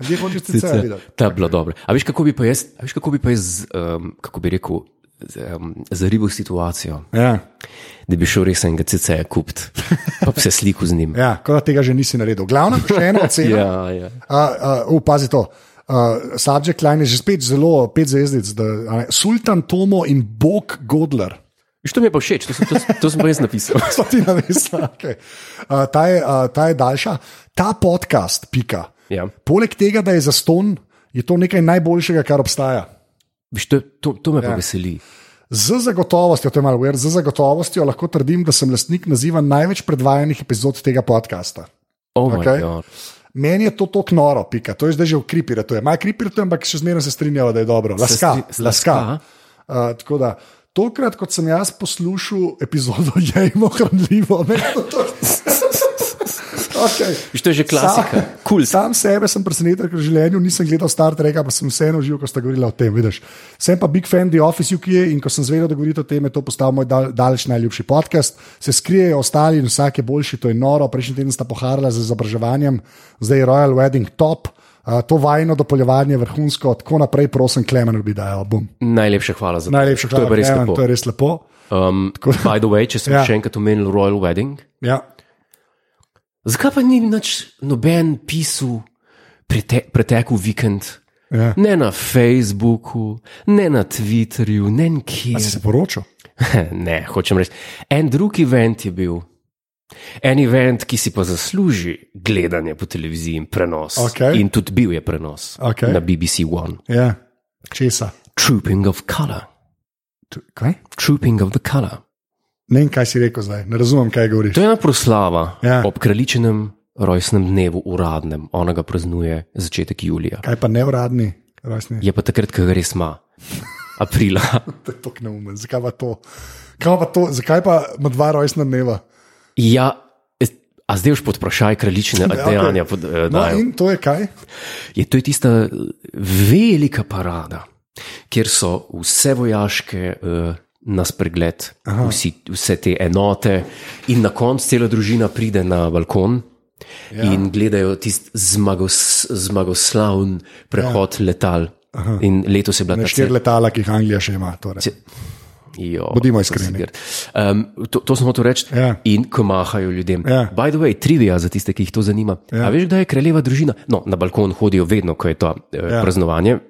Speaker 2: Ljudje hočejo CC-ja videti.
Speaker 1: Ta je bila dobra. A veš, kako bi pa jaz, a veš, kako bi pa jaz, um, kako bi rekel, um, zaribil situacijo,
Speaker 2: Ja,
Speaker 1: da bi šel res enega CC-ja kupiti, pa bi se slikal z njim.
Speaker 2: ja, kot da tega že nisi naredil. Glavno, še ena ocena.
Speaker 1: Ja, ja.
Speaker 2: Uh, uh, pazi to. Uh, subject line je že spet zelo pet zvezdic. Da, a ne, Sultan Tomo in Bog Godler.
Speaker 1: Veš, to mi je pa všeč, to sem, to, to sem pa jaz napisal.
Speaker 2: so ti na resni. Okay. Uh, ta, je, uh, ta je daljša. Ta podcast, pika.
Speaker 1: Ja.
Speaker 2: Poleg tega, da je za ston, je to nekaj najboljšega, kar obstaja.
Speaker 1: Veš, to, to, to me ja. pa veseli.
Speaker 2: Z zagotovostjo, to je malo weird, z zagotovostjo lahko trdim, da sem lastnik naziva največ predvajanih epizod tega podcasta.
Speaker 1: Oh
Speaker 2: Okej.
Speaker 1: okay.
Speaker 2: Meni je to tako noro, pika. To je zdaj že v kripire, to je malo kripire, ampak še zmeraj se strinjava, da je dobro. Laska,
Speaker 1: stri-
Speaker 2: laska.
Speaker 1: laska.
Speaker 2: Uh, tako da, tokrat, kot sem jaz poslušal epizodo, je imel hranljivo. ne, to- Okay.
Speaker 1: Veš, to je že klasika, kul. Cool.
Speaker 2: Sam sebe sem presenečen, ker v življenju nisem gledal Star Treka, pa sem vseeno živel, ko ste govorili o tem. Vidiš. Sem pa big fan The Office UK in ko sem zvedel, da govorite o tem, je to postal moj dal, daleč najljubši podcast. Se skrijejo ostali in vsak je boljši, to je noro. Prejšnji teden sta poharala z izobraževanjem, zdaj je Royal Wedding top. Uh, to vajno dopoljevanje vrhunsko, tako naprej, prosim, Klemen bi dajal. Bom.
Speaker 1: Najlepša hvala za to.
Speaker 2: Najlepša
Speaker 1: To je
Speaker 2: hvala,
Speaker 1: pa res
Speaker 2: Klemen,
Speaker 1: lepo.
Speaker 2: to je res lepo.
Speaker 1: Um, by the way, če sem
Speaker 2: Ja.
Speaker 1: ja. še enkrat omenil Royal Wedding,
Speaker 2: Ja.
Speaker 1: zakaj pa ni nič noben pisal prete, pretekel vikend?
Speaker 2: Ja.
Speaker 1: Ne na Facebooku, ne na Twitterju, ne
Speaker 2: A
Speaker 1: nikjer.
Speaker 2: Si se poročil?
Speaker 1: Ne, hočem reči. En drug event je bil. En event, ki si pa zasluži gledanje po televiziji in prenos.
Speaker 2: Okej.
Speaker 1: In tudi bil je prenos
Speaker 2: Okej.
Speaker 1: na BBC One.
Speaker 2: Ja. Česa?
Speaker 1: Trooping of Color.
Speaker 2: Tu- Kaj?
Speaker 1: Trooping of the Color.
Speaker 2: Ne vem, kaj si rekel zdaj, ne razumem, kaj govoriš.
Speaker 1: To je ena proslava ja.
Speaker 2: Ja.
Speaker 1: ob kraljičnem rojstnem dnevu, uradnem, ona ga praznuje začetek julija.
Speaker 2: Kaj pa neuradni, rojstni?
Speaker 1: Je pa takrat, ko ga res ima, aprila.
Speaker 2: To je tako neumen, zakaj pa to? Kaj pa to? Zakaj pa ima dva rojstna dneva?
Speaker 1: Ja, eh, a zdaj už pod vprašaj kraljične
Speaker 2: Ja, okej.
Speaker 1: dejanja. Pod, eh,
Speaker 2: No,
Speaker 1: dajo.
Speaker 2: in to je kaj?
Speaker 1: je to je tista eh, velika parada, kjer so vse vojaške. Uh, Na spregled, vsi, vse te enote, in na koncu cela družina pride na balkon ja. in gledajo tisti zmagos, zmagoslavn prehod ja. letal. Aha. In letos je bila ta
Speaker 2: Štiri letala, ki jih Anglija še ima. Torej.
Speaker 1: Jo,
Speaker 2: Bodimo iskreni.
Speaker 1: ziger. Um, to, to sem hotel reči.
Speaker 2: Ja.
Speaker 1: In ko mahajo ljudem.
Speaker 2: Ja.
Speaker 1: By the way, trivija za tiste, ki jih to zanima. Ja. A veš, kdaj je kraljeva družina? No, na balkon hodijo vedno, ko je to eh, ja. praznovanje.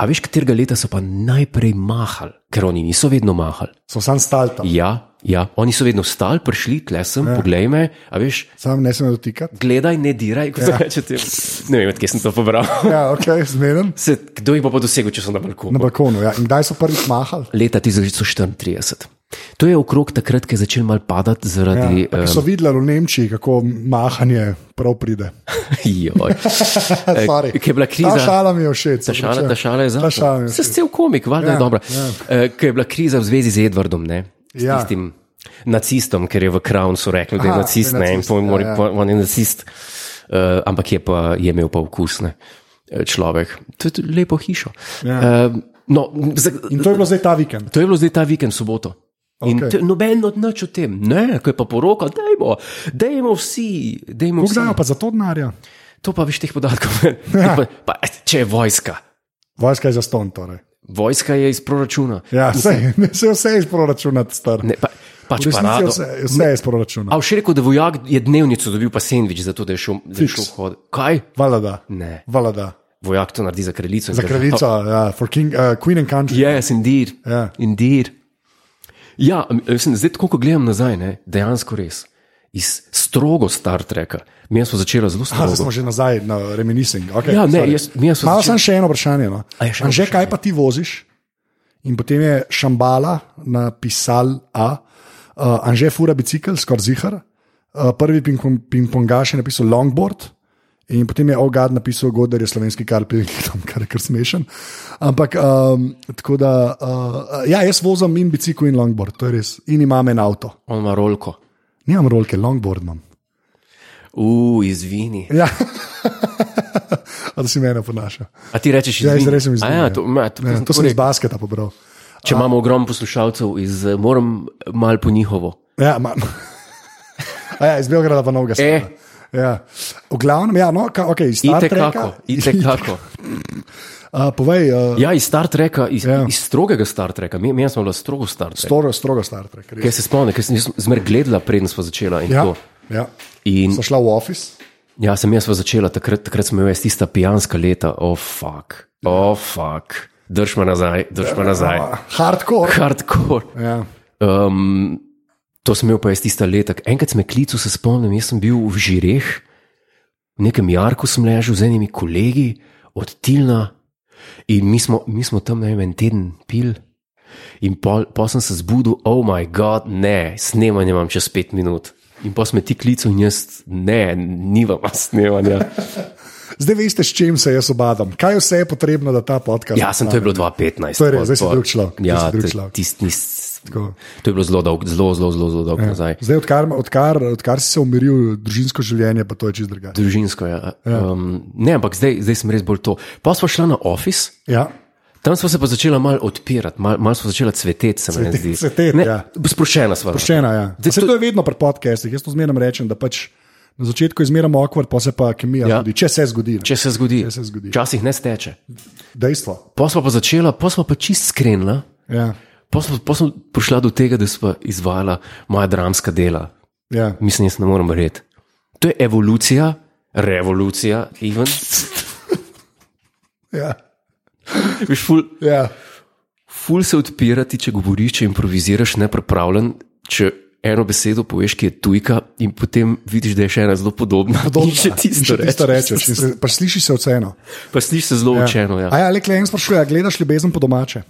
Speaker 1: A veš, katerega leta so pa najprej mahali, ker oni niso vedno mahali.
Speaker 2: So sam stal tam,
Speaker 1: Ja, ja, oni so vedno stali, prišli, klesem, ja. poglej me, a veš,
Speaker 2: sam ne smem dotikati.
Speaker 1: gledaj, ne diraj, kot ja. rečete. Ne vem, odkje sem to pobral.
Speaker 2: Ja, ok, zmeren.
Speaker 1: Se, kdo jih bo pa dosegel, če so na balkonu?
Speaker 2: Na balkonu. Ja. In kdaj so prvič mahali?
Speaker 1: leta 1934. To je okrog takrat, ko je začel mal padati zaradi. eh,
Speaker 2: Ja, so videli v Nemčiji, kako mahanje prav pride.
Speaker 1: Joj. Eh,
Speaker 2: Sorry.
Speaker 1: Ki je bila kriza.
Speaker 2: Ta šala mi je všeč.
Speaker 1: Ta šala, ta šala je
Speaker 2: Ta šala
Speaker 1: zadnja.
Speaker 2: mi je
Speaker 1: Se
Speaker 2: všeč.
Speaker 1: cel komik, valjda ja, je
Speaker 2: Ja,
Speaker 1: dobra.
Speaker 2: ja.
Speaker 1: Ja. Ker je bila kriza v zvezi z Edwardom, ne? S
Speaker 2: Ja.
Speaker 1: ja. tistim nacistom, ker je v Crownsu rekel, da je
Speaker 2: Aha,
Speaker 1: nacist,
Speaker 2: da je
Speaker 1: ne, in
Speaker 2: nacist,
Speaker 1: pol
Speaker 2: ja,
Speaker 1: mora-
Speaker 2: ja.
Speaker 1: pol- on je nacist, uh, ampak je, pa, je imel pa okusne človek. To je tudi lepo hišo.
Speaker 2: Ja.
Speaker 1: Uh, no, za,
Speaker 2: In to je bilo zdaj ta vikend.
Speaker 1: To je bilo zdaj ta vikend, soboto. In
Speaker 2: Okej.
Speaker 1: okay. noben od nič o tem, ne, ko je pa poroka, dajmo, dajmo vsi, dajmo
Speaker 2: Kako
Speaker 1: vsi.
Speaker 2: dajo pa za to denarja?
Speaker 1: To pa veš teh podatkov. Ja. Pa, pa, če je vojska,
Speaker 2: Vojska je za ston. Torej.
Speaker 1: vojska je iz proračuna.
Speaker 2: Ja, sej, se vse je iz proračuna, star.
Speaker 1: Ne, pa, pač
Speaker 2: Resnici je
Speaker 1: parado.
Speaker 2: vse, vse je iz proračuna.
Speaker 1: A v še rekel, da vojak je dnevnico dobil pa sendvič, zato da je šel, da je šel hod. Kaj?
Speaker 2: Valada.
Speaker 1: Ne, No.
Speaker 2: Valada.
Speaker 1: vojak to naredi za kraljico. in
Speaker 2: Za
Speaker 1: ga-
Speaker 2: kraljico, ja, for king, uh, queen and country.
Speaker 1: Yes, indeed.
Speaker 2: Ja.
Speaker 1: indeed. Ja, m- mislim, zdaj, tako, ko gledam nazaj, ne, dejansko res. Iz strogo Star Treka. Mi smo začeli zelo
Speaker 2: Ah, zdaj
Speaker 1: strogo.
Speaker 2: smo že nazaj na reminiscing. Okay,
Speaker 1: Ja, ne,
Speaker 2: sorry.
Speaker 1: jaz- mi smo
Speaker 2: Malo
Speaker 1: začeli-
Speaker 2: sem še eno vprašanje. No.
Speaker 1: A je še eno
Speaker 2: Anže,
Speaker 1: vprašanje?
Speaker 2: kaj pa ti voziš? In potem je Šambala napisal A, uh, Anže fura bicikl, skoraj zihar, uh, prvi ping- ping-pongaš je napisal longboard. In potem je Ogad napisal, Godar je slovenski karpil, kar je kar smešen. Ampak um, tako da, uh, ja, jaz vozim in bicikl in longboard, to je res. In imam en avto.
Speaker 1: On ima rolko.
Speaker 2: Nimam rolke, longboard imam.
Speaker 1: Uf, izvini.
Speaker 2: Ja. A da si mene ponaša.
Speaker 1: A ti rečeš,
Speaker 2: Ja,
Speaker 1: izvini?
Speaker 2: jaz res sem
Speaker 1: A
Speaker 2: izgubil.
Speaker 1: Ja, to, ma, to,
Speaker 2: ja,
Speaker 1: to,
Speaker 2: to sem iz basketa pobral.
Speaker 1: če imamo ogromno poslušalcev, iz, eh, moram mal po njihovo.
Speaker 2: Ja, ma, A ja, iz Beograda pa
Speaker 1: E.
Speaker 2: novega sveta. Ja. V glavnem, ja, no, ka, ok, iz Star
Speaker 1: Ite
Speaker 2: Treka.
Speaker 1: kako, ite kako.
Speaker 2: A, povej, uh,
Speaker 1: Ja, iz Star Treka, iz, ja.
Speaker 2: Ja.
Speaker 1: iz strogega Star Treka. Mi, mi smo bili strogo Star Trek.
Speaker 2: strogo, strogo Star Trek. res.
Speaker 1: Ker se spomnim, ker sem jaz zmer gledala, preden smo začela. in
Speaker 2: Ja,
Speaker 1: to.
Speaker 2: ja.
Speaker 1: In
Speaker 2: So šla v office.
Speaker 1: Ja, sem jaz pa začela, takrat, takrat smo imeli tista pijanska leta, o oh, fuk, o oh, fuk, drž me nazaj, drž me nazaj.
Speaker 2: A, Ah, Hardcore.
Speaker 1: Hardcore.
Speaker 2: Ja.
Speaker 1: Um, to sem imel pa jaz tista leta. Enkrat sem klical, se spomnim, jaz sem bil v Žireh, v nekem jarku sem ležal z enimi kolegi od Tilna in mi smo, mi smo tam ne vem, en teden pil. In pol, pol sem se zbudil, oh moj bog, ne, snemanje imam čez pet minut. In pa sem ti klical, in jaz ne, nimam snemanja.
Speaker 2: Zdaj veste, s čim se jaz obadam. Kaj vse je potrebno, da ta podcast.
Speaker 1: Ja, sem to je bilo 2015.
Speaker 2: To je res,
Speaker 1: pol-
Speaker 2: zdaj si
Speaker 1: pol-
Speaker 2: drug človek, zdaj si
Speaker 1: Ja,
Speaker 2: drug
Speaker 1: te-
Speaker 2: človek.
Speaker 1: tisti nis- To je bilo zelo dolgo, zelo, zelo, zelo, zelo dolgo nazaj.
Speaker 2: Zdaj, odkar, odkar, odkar si se umiril, družinsko življenje pa to je čist drugače.
Speaker 1: Družinsko je. Ja. Um, ne, ampak zdaj, zdaj sem res bolj to. Pa smo šli na office.
Speaker 2: Ja.
Speaker 1: Tam smo se pa začeli malo odpirati, malo mal smo začeli cveteti, se mi
Speaker 2: Cvete-
Speaker 1: zdi.
Speaker 2: cveteti,
Speaker 1: ne,
Speaker 2: ja.
Speaker 1: Sproščena sva. bila.
Speaker 2: Poštena, ja.
Speaker 1: Zdaj
Speaker 2: Vse
Speaker 1: to-
Speaker 2: to je vedno pri podcestih. Jaz to zmerno rečem, da pač na začetku je zmerno awkward, pa se pa kemija ja.
Speaker 1: Ja.
Speaker 2: zgodi, če se zgodi. ne.
Speaker 1: Če se zgodi,
Speaker 2: Če se zgodi.
Speaker 1: včasih ne steče.
Speaker 2: Dejstvo.
Speaker 1: Pa smo pa začela, pa smo pa čist skrenila,
Speaker 2: Ja.
Speaker 1: pa smo, pa smo prišla do tega, da smo izvajala moja dramska dela.
Speaker 2: Ja.
Speaker 1: Mislim, jaz ne morem verjeti. To je evolucija, revolucija, Ivan.
Speaker 2: Ja.
Speaker 1: Veš, ful,
Speaker 2: Ja.
Speaker 1: ful se odpirati, če govoriš, če improviziraš, neprepravljen. Če eno besedo poveš, ki je tujka, in potem vidiš, da je še ena zelo podobna.
Speaker 2: Podobno.
Speaker 1: In še
Speaker 2: ja. In
Speaker 1: tisto
Speaker 2: še tisto rečeš. in se- Pa slišiš se oceno.
Speaker 1: Pa slišiš se zelo ja. učeno. Ja.
Speaker 2: A ja, le en sprašuje, a gledaš ljubezen po domače?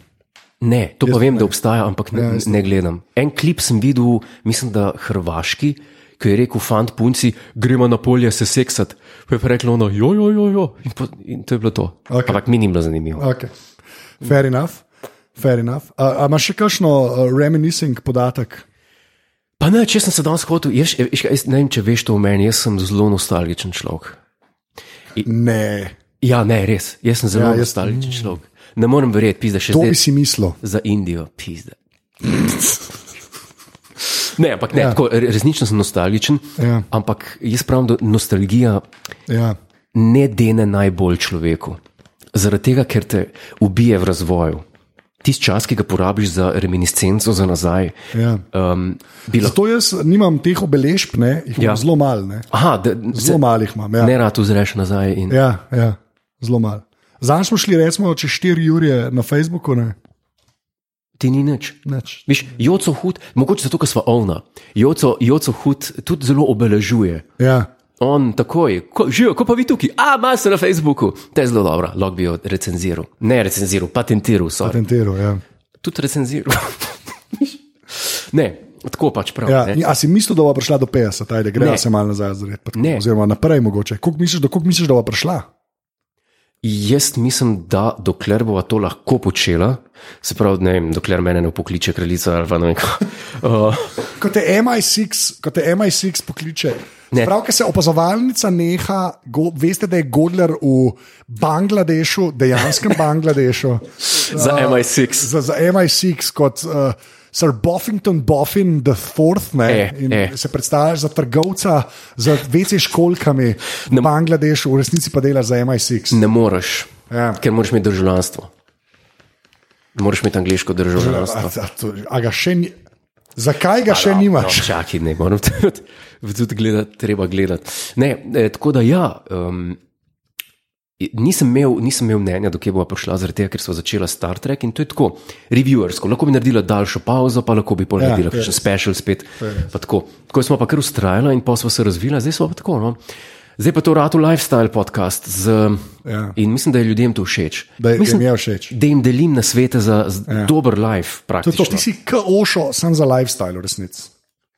Speaker 1: Ne, to pa vem, da obstaja, ampak ne, ne gledam. En klip sem videl, mislim, da hrvaški. Ki je rekel, fant, punci, gremo na polje se seksat. Pa je pa reklo, no, jojo, jojo. In, po- in to je bilo to.
Speaker 2: Okej.
Speaker 1: Ampak mi ni bilo zanimivo.
Speaker 2: Okay. Fair enough. Fair enough. A, a imaš še kakšno uh, reminiscing podatek?
Speaker 1: Pa ne, če sem se danes hodil, jaz, jaz, jaz ne vem, če veš to o meni, jaz sem zelo nostalgičen človek.
Speaker 2: Ne.
Speaker 1: Ja, ne, res, jaz sem zelo
Speaker 2: Ja,
Speaker 1: ja,
Speaker 2: jaz-
Speaker 1: nostalgičen človek. Ne morem verjeti, pizda še
Speaker 2: To bi
Speaker 1: zdaj
Speaker 2: si mislil.
Speaker 1: za Indijo, pizda. Ne, ampak ne, ja. tako, re- resnično sem nostalgičen,
Speaker 2: Ja.
Speaker 1: ampak jaz pravim, da nostalgija
Speaker 2: Ja.
Speaker 1: ne dene najbolj človeku. Zaradi tega, ker te ubije v razvoju. Tisti čas, ki ga porabiš za reminiscenco, za nazaj.
Speaker 2: Ja.
Speaker 1: Um, bi lahko,
Speaker 2: Zato jaz nimam teh obeležb, ne, jih
Speaker 1: Ja.
Speaker 2: ja. zelo malo. ne.
Speaker 1: aha, da,
Speaker 2: Zelo malo jih imam. Ja.
Speaker 1: ne rad vzreš nazaj. In,
Speaker 2: Ja, ja, zelo malo. Zanj smo šli, recimo, čez 4 ure na Facebooku. Ne?
Speaker 1: ti ni nič.
Speaker 2: Nič.
Speaker 1: Viš, Joco hud, mogoče zato, ker smo ovna. Joco, Joco hud tudi zelo obeležuje.
Speaker 2: Ja.
Speaker 1: On takoj, ko, živijo, ko pa vi tukaj, a imaš se na Facebooku, te je zelo dobro, lahko bi jo recenziral. Ne recenziral, patentiral, sorry.
Speaker 2: Patentiral, ja.
Speaker 1: tudi recenziral. Viš? ne, tako pač prav.
Speaker 2: Ja,
Speaker 1: ne.
Speaker 2: in a si mislil, da bo prišla do 50, ajde,
Speaker 1: Ne.
Speaker 2: gre se malo nazaj, zdaj, pa tako,
Speaker 1: Ne.
Speaker 2: oziroma naprej mogoče. Kako misliš, da, koliko misliš, da bo prišla?
Speaker 1: Jaz mislim, da dokler bova to lahko počela, se pravi, ne vem, dokler me ne pokliče kraljica ali pa ne vem. kaj. Uh,
Speaker 2: Ko te MI6, ko te MI6 pokliče.
Speaker 1: Ne.
Speaker 2: Prav, ker se opazovalnica neha, go, veste, da je Godler v Bangladešu, dejanskem Bangladešu.
Speaker 1: za MI6.
Speaker 2: Za, za MI6 kot uh, Sir Buffington Boffin IV, ne,
Speaker 1: E,
Speaker 2: in
Speaker 1: e.
Speaker 2: se predstavljaš za trgovca z večjimi školkami v Bangladešu, v resnici pa delaš za MI6.
Speaker 1: Ne moreš, ja.
Speaker 2: Ja.
Speaker 1: ker moraš imeti državljanstvo. Moraš imeti angliško
Speaker 2: A,
Speaker 1: državljanstvo.
Speaker 2: a, to, a ga še ni. Zakaj ga še
Speaker 1: No,
Speaker 2: nimaš?
Speaker 1: čakaj, ne moram tudi, tudi gledati, treba gledati. Ne, eh, tako da ja. Um, Nisem imel, nisem imel mnenja, dokaj bo prišla, zaradi tega, ker smo začela Star Trek in to je tako, reviewersko. Lahko bi naredila daljšo pauzo, pa lahko bi pol
Speaker 2: Ja,
Speaker 1: naredila
Speaker 2: to je
Speaker 1: še special spet. pa Tako. tako smo pa kar ustrajala in pa smo se razvila, zdaj smo pa tako. No. Zdaj pa to ratu lifestyle podcast z,
Speaker 2: Ja.
Speaker 1: in mislim, da je ljudem to všeč.
Speaker 2: Da jim
Speaker 1: mislim,
Speaker 2: je všeč.
Speaker 1: Da jim delim na svete za ja. dober life,
Speaker 2: To, je to,
Speaker 1: praktično.
Speaker 2: ti si košo, sem za lifestyle, v resnici.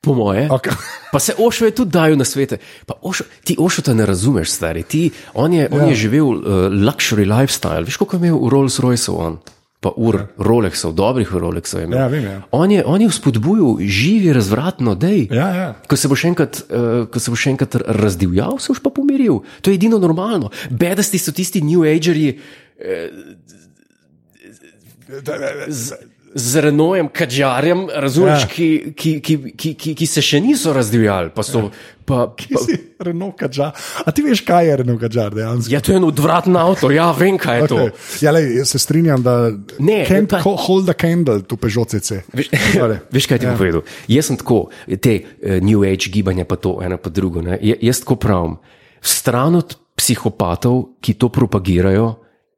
Speaker 1: Po moje.
Speaker 2: Okay.
Speaker 1: Pa se Ošo je tudi dajal na svete. Pa Ošo, ti Ošo ta ne razumeš, stari. Ti, on, je,
Speaker 2: Ja.
Speaker 1: on je živel uh, luxury lifestyle. Veš, koliko je imel Rolls Royceov on, pa ur ja. Rolexov, dobrih Rolexov. je imel.
Speaker 2: Ja, vem, ja.
Speaker 1: On, je, on je vzpodbujal, živi razvratno, dej.
Speaker 2: Ja, ja.
Speaker 1: Ko se boš enkrat, uh, ko se boš enkrat razdivjal, se boš pa pomiril. To je edino normalno. Bedasti so tisti New Agerji eh, z, z Renojem, Kačarjem, razumeš, ja.
Speaker 2: Ja.
Speaker 1: ki, ki, ki, ki, ki, ki se še niso razdivjali. Pa so, ja. pa,
Speaker 2: Ti
Speaker 1: pa,
Speaker 2: si Renault Kadžar. A ti veš, kaj je Renault Kadžar dejansko?
Speaker 1: ja, to je en odvraten avto, ja, vem, kaj je okay.
Speaker 2: Okay. Ja, lej, jaz se strinjam, da
Speaker 1: Ne,
Speaker 2: can't
Speaker 1: pa-
Speaker 2: ho- hold a candle to Peugeot Torej, CC.
Speaker 1: to.
Speaker 2: Sorry.
Speaker 1: Veš, kaj ti ja. bom povedal? Jaz sem tako, te eh, New Age gibanja, pa to ena pa drugo. Ne? Ja- Jaz tako pravim, stran od psihopatov, ki to propagirajo,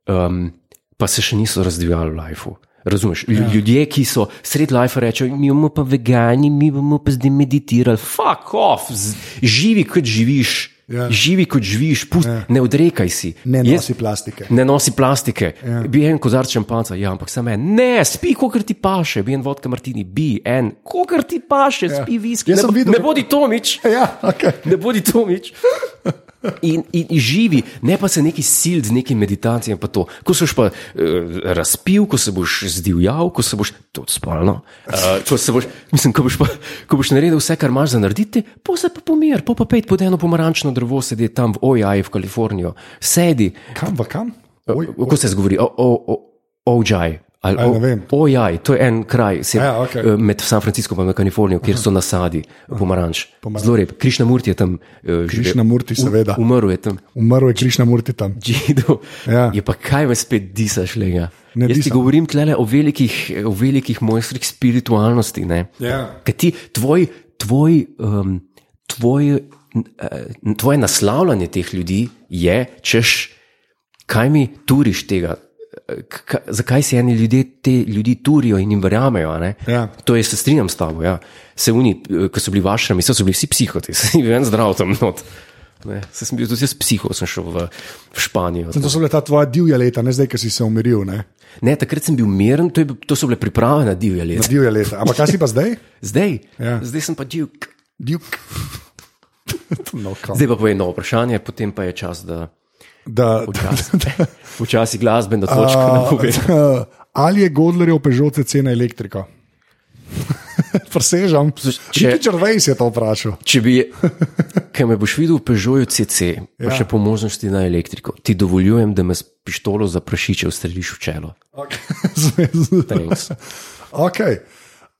Speaker 1: um, pa se še niso razdivjali v lifeu. Razumeš? Ja. Ljudje, ki so sred life rečejo, mi bomo pa vegani, mi bomo pa zdaj meditirali, fuck off, z- živi kot živiš, ja.
Speaker 2: Ja.
Speaker 1: živi kot živiš, pust, ja. ne no, odrekaj si.
Speaker 2: Ne
Speaker 1: Jaz-
Speaker 2: nosi plastike.
Speaker 1: Ne nosi plastike, ja. bi en kozarc šampanca, ja, ampak samo en, ne, spi, kot ti paše, bi en vodka martini, bi en, kot ti paše, ja. spi viski.
Speaker 2: Jaz
Speaker 1: Ne,
Speaker 2: sem
Speaker 1: bo-
Speaker 2: videl-
Speaker 1: ne bodi Tomič,
Speaker 2: Ja, okay.
Speaker 1: ne bodi Tomič. In, in, in živi, ne pa se neki sil z nekim meditacijam. pa to. Ko se boš pa uh, razpil, ko se boš zdivjal, ko se boš tudi spalno, uh, ko, se boš, mislim, ko, boš pa, ko boš naredil vse, kar imaš za narediti, pa se pa pomir, pa pa pet pod eno pomarančno drevo, sedi tam v OJAJ v Kalifornijo, sedi,
Speaker 2: Kam, Uh, v kam? Oj,
Speaker 1: Kako se zgovori? O- o- o- Ojaj. ali
Speaker 2: Aj, ne
Speaker 1: o-
Speaker 2: vem.
Speaker 1: Ojaj, to je en kraj se,
Speaker 2: Ja, okej.
Speaker 1: eh, med San Franciscom in Kalifornijo, kjer so nasadi eh, pomaranč. Zelo rep. Krišna Murti je tam eh, živel.
Speaker 2: Krišnamurti,
Speaker 1: U-
Speaker 2: seveda.
Speaker 1: Umrl je tam.
Speaker 2: Umrl je Krišna Murti tam.
Speaker 1: Džidov.
Speaker 2: Ja.
Speaker 1: Je pa kaj me spet disaš, le ga.
Speaker 2: Ne
Speaker 1: Jaz ti
Speaker 2: disam.
Speaker 1: govorim tlele o velikih, o velikih mojstrih spiritualnosti. Ne?
Speaker 2: Ja.
Speaker 1: Ker ti, tvoj, tvoj, um, tvoj, uh, tvoje naslavljanje teh ljudi je, češ, kaj mi turiš tega. eh, K, zakaj si eni ljudje te ljudi turijo in jim verjamejo? a ne?
Speaker 2: Ja.
Speaker 1: To je, se strinjam s tabo. Ja. Se oni, eh, ko so bili vaši, mislim, so bili vsi psihoti, sem bil en zdrav tam not. Ne, saj sem bil tudi jaz psiho, sem šel v, v Španijo.
Speaker 2: To so bila ta tvoja divja leta, ne zdaj, ki si se umiril. Ne?
Speaker 1: Ne, takrat sem bil miren, to, je, bil- to so bile priprave na divje
Speaker 2: Na
Speaker 1: leta.
Speaker 2: divja leta. Ampak kaj si pa zdaj?
Speaker 1: Zdaj, ja.
Speaker 2: Ja.
Speaker 1: zdaj sem pa divk.
Speaker 2: Divk. No, kam.
Speaker 1: Zdaj pa povem eno vprašanje, potem pa je čas, da
Speaker 2: da, da, da,
Speaker 1: počasi glasbena točka uh, napove.
Speaker 2: da, ali je Godlerjev Peugeot CC na elektriko? Presežam.
Speaker 1: če-
Speaker 2: Če Črvejs je to vprašal.
Speaker 1: Če bi, kaj me boš videl v Peugeotu CC, pa ja.
Speaker 2: Ja.
Speaker 1: še po možnosti na elektriko, ti dovoljujem, da me s pištolo za prašiče ustreliš v čelo.
Speaker 2: Okay.
Speaker 1: Thanks.
Speaker 2: okay.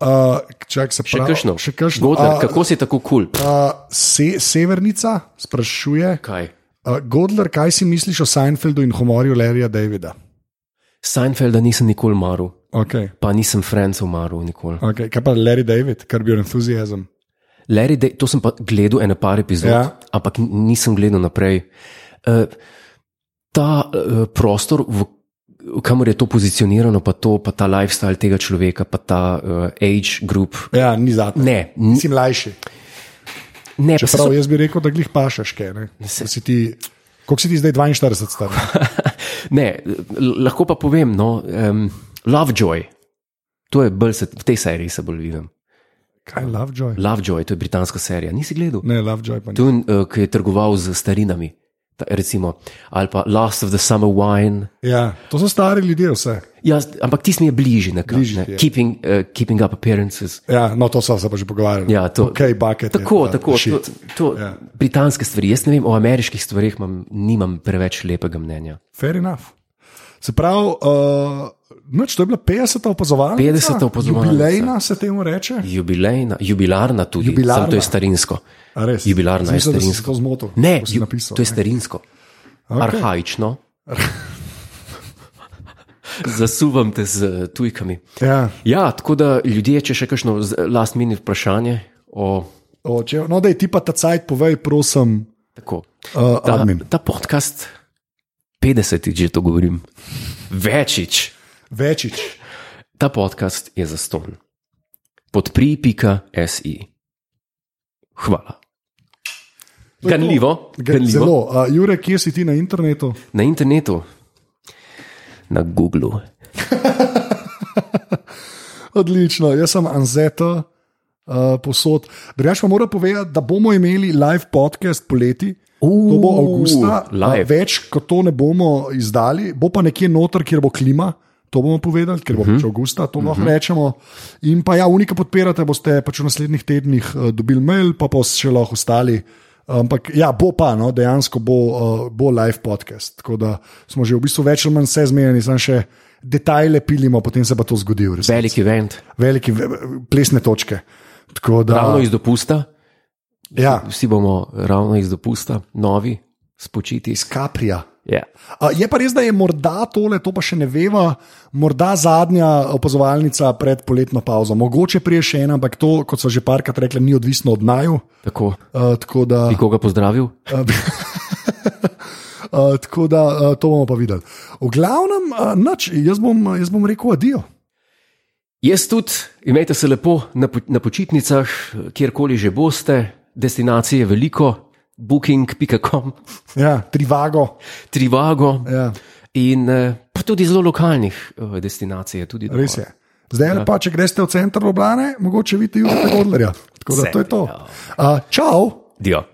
Speaker 2: Uh, čak, se
Speaker 1: Še
Speaker 2: pravi,
Speaker 1: kakšno?
Speaker 2: Še kakšno?
Speaker 1: Godler,
Speaker 2: A,
Speaker 1: kako si tako kul? Cool?
Speaker 2: a, Uh, se, severnica sprašuje,
Speaker 1: Kaj?
Speaker 2: uh, Godler, kaj si misliš o Seinfeldu in humorju Larryja Davida?
Speaker 1: Seinfelda nisem nikoli maru,
Speaker 2: Okay.
Speaker 1: pa nisem Francov maru nikoli.
Speaker 2: Okay. Kaj pa Larry David, kar bil entuzijazem.
Speaker 1: Larry, Day, to sem pa gledal eno par epizod,
Speaker 2: Ja.
Speaker 1: ja. ampak n- nisem gledal naprej. Uh, ta uh, prostor, v, v kamor je to pozicionirano, pa, to, pa ta lifestyle tega človeka, pa ta uh, age group.
Speaker 2: Ja, ni zadnji.
Speaker 1: Ne, n-
Speaker 2: Mislim, lajši.
Speaker 1: ne, pa so,
Speaker 2: Čeprav jaz bi rekel, da glih pašaš, kaj ne. Da si ti- Koliko si ti zdaj 42 star?
Speaker 1: ne, l- lahko pa povem, no, um, Lovejoy. To je bolj, se- v tej seriji se bolj vidim.
Speaker 2: Kaj, Lovejoy?
Speaker 1: Lovejoy, to je britanska serija, nisi gledal.
Speaker 2: Ne, Lovejoy pa ni.
Speaker 1: Tun, uh, ki je trgoval z starinami, ta, recimo, ali pa Last of the Summer Wine.
Speaker 2: Ja, to so stari ljudje, vse.
Speaker 1: Ja, z- ampak tisti mi je bližje, nekako.
Speaker 2: Bližje ti
Speaker 1: Ne?
Speaker 2: je.
Speaker 1: Keeping, uh, keeping up appearances.
Speaker 2: Ja, no, to so se pa že pogovarjali.
Speaker 1: Ja, to,
Speaker 2: okay, bucket,
Speaker 1: tako,
Speaker 2: je,
Speaker 1: tako. To,
Speaker 2: shit.
Speaker 1: to,
Speaker 2: Ja.
Speaker 1: ja. Britanske stvari. Jaz ne vem, o ameriških stvareh imam, nimam preveč lepega mnenja.
Speaker 2: Fair enough. Se pravi, uh, noč, to je bila 50. opazovalnica.
Speaker 1: 50. opazovalnica.
Speaker 2: Jubilejna se temu reče.
Speaker 1: Jubilejna, jubilarna tudi, samo
Speaker 2: Jubilarna.
Speaker 1: to je starinsko.
Speaker 2: A res?
Speaker 1: Jubilarna je
Speaker 2: Sem mislil, da si
Speaker 1: starinsko.
Speaker 2: to zmotil,
Speaker 1: Ne,
Speaker 2: ko si
Speaker 1: ju,
Speaker 2: napisal,
Speaker 1: to je
Speaker 2: ne.
Speaker 1: starinsko. Okay. Arhajično. Zasuvam te z eh, tujkami.
Speaker 2: Ja.
Speaker 1: Ja, tako da ljudje, če še kakšno last minute vprašanje o
Speaker 2: O, če, no, da je ti pa ta cajt, povej, prosim,
Speaker 1: tako.
Speaker 2: uh,
Speaker 1: Ta,
Speaker 2: admin.
Speaker 1: ta podcast, 50-tič že to govorim, večič,
Speaker 2: Večič.
Speaker 1: ta podcast je za ston. Podpri.si. Hvala.
Speaker 2: To je to.
Speaker 1: Ganljivo,
Speaker 2: Ga-
Speaker 1: ganljivo.
Speaker 2: Zelo. Uh, Jure, kje si ti na internetu?
Speaker 1: Na internetu, na Googlu.
Speaker 2: Odlično, jaz sem Anzeta, uh, posod. Drugač pa moram povedati, da bomo imeli live podcast poleti.
Speaker 1: Uh,
Speaker 2: To bo avgusta,
Speaker 1: live.
Speaker 2: A, več kot to ne bomo izdali, bo pa nekje noter, kjer bo klima. To bomo povedali, ker bo uh -huh. avgusta, to lahko uh -huh. rečemo. In pa ja, unika podpirate, boste pač v naslednjih tednih uh, dobili mail, pa pa še lahko ostali. Ampak ja, bo pa, no, dejansko bo, uh, bo live podcast. Tako da smo že v bistvu več ali manj vse zmedeni, samo še detajle pilimo, potem se pa to zgodi. v resnici
Speaker 1: Velik event,
Speaker 2: velike v- plesne točke. Tako
Speaker 1: ravno
Speaker 2: da,
Speaker 1: iz dopusta,
Speaker 2: ja,
Speaker 1: vsi bomo ravno iz dopusta, novi, spočiti. Ja.
Speaker 2: iz Kaprija.
Speaker 1: Yeah.
Speaker 2: A, Je pa res, da je morda tole, to pa še ne veva, morda zadnja opazovalnica pred poletno pauzo. Mogoče prije še ena, ampak to, kot so že parkrat rekli, ni odvisno od naju.
Speaker 1: Tako,
Speaker 2: Uh, tako da,
Speaker 1: bi koga pozdravil?
Speaker 2: uh, tako da uh, to bomo pa videli. V glavnem, uh, nač, jaz, bom, jaz bom rekel adijo.
Speaker 1: Jaz tudi, imejte se lepo na, po, na počitnicah, kjerkoli že boste, destinacije je veliko, booking.com,
Speaker 2: Ja, trivago.
Speaker 1: Trivago
Speaker 2: Ja.
Speaker 1: in eh, pa tudi zelo lokalnih eh, destinacij. je Tudi
Speaker 2: Res je. Zdaj ja. pa, če greš v center Ljubljana, mogoče vidiš Jurija Godlerja. Tako da to je to.
Speaker 1: Seveda.
Speaker 2: Uh, čau!
Speaker 1: Dio.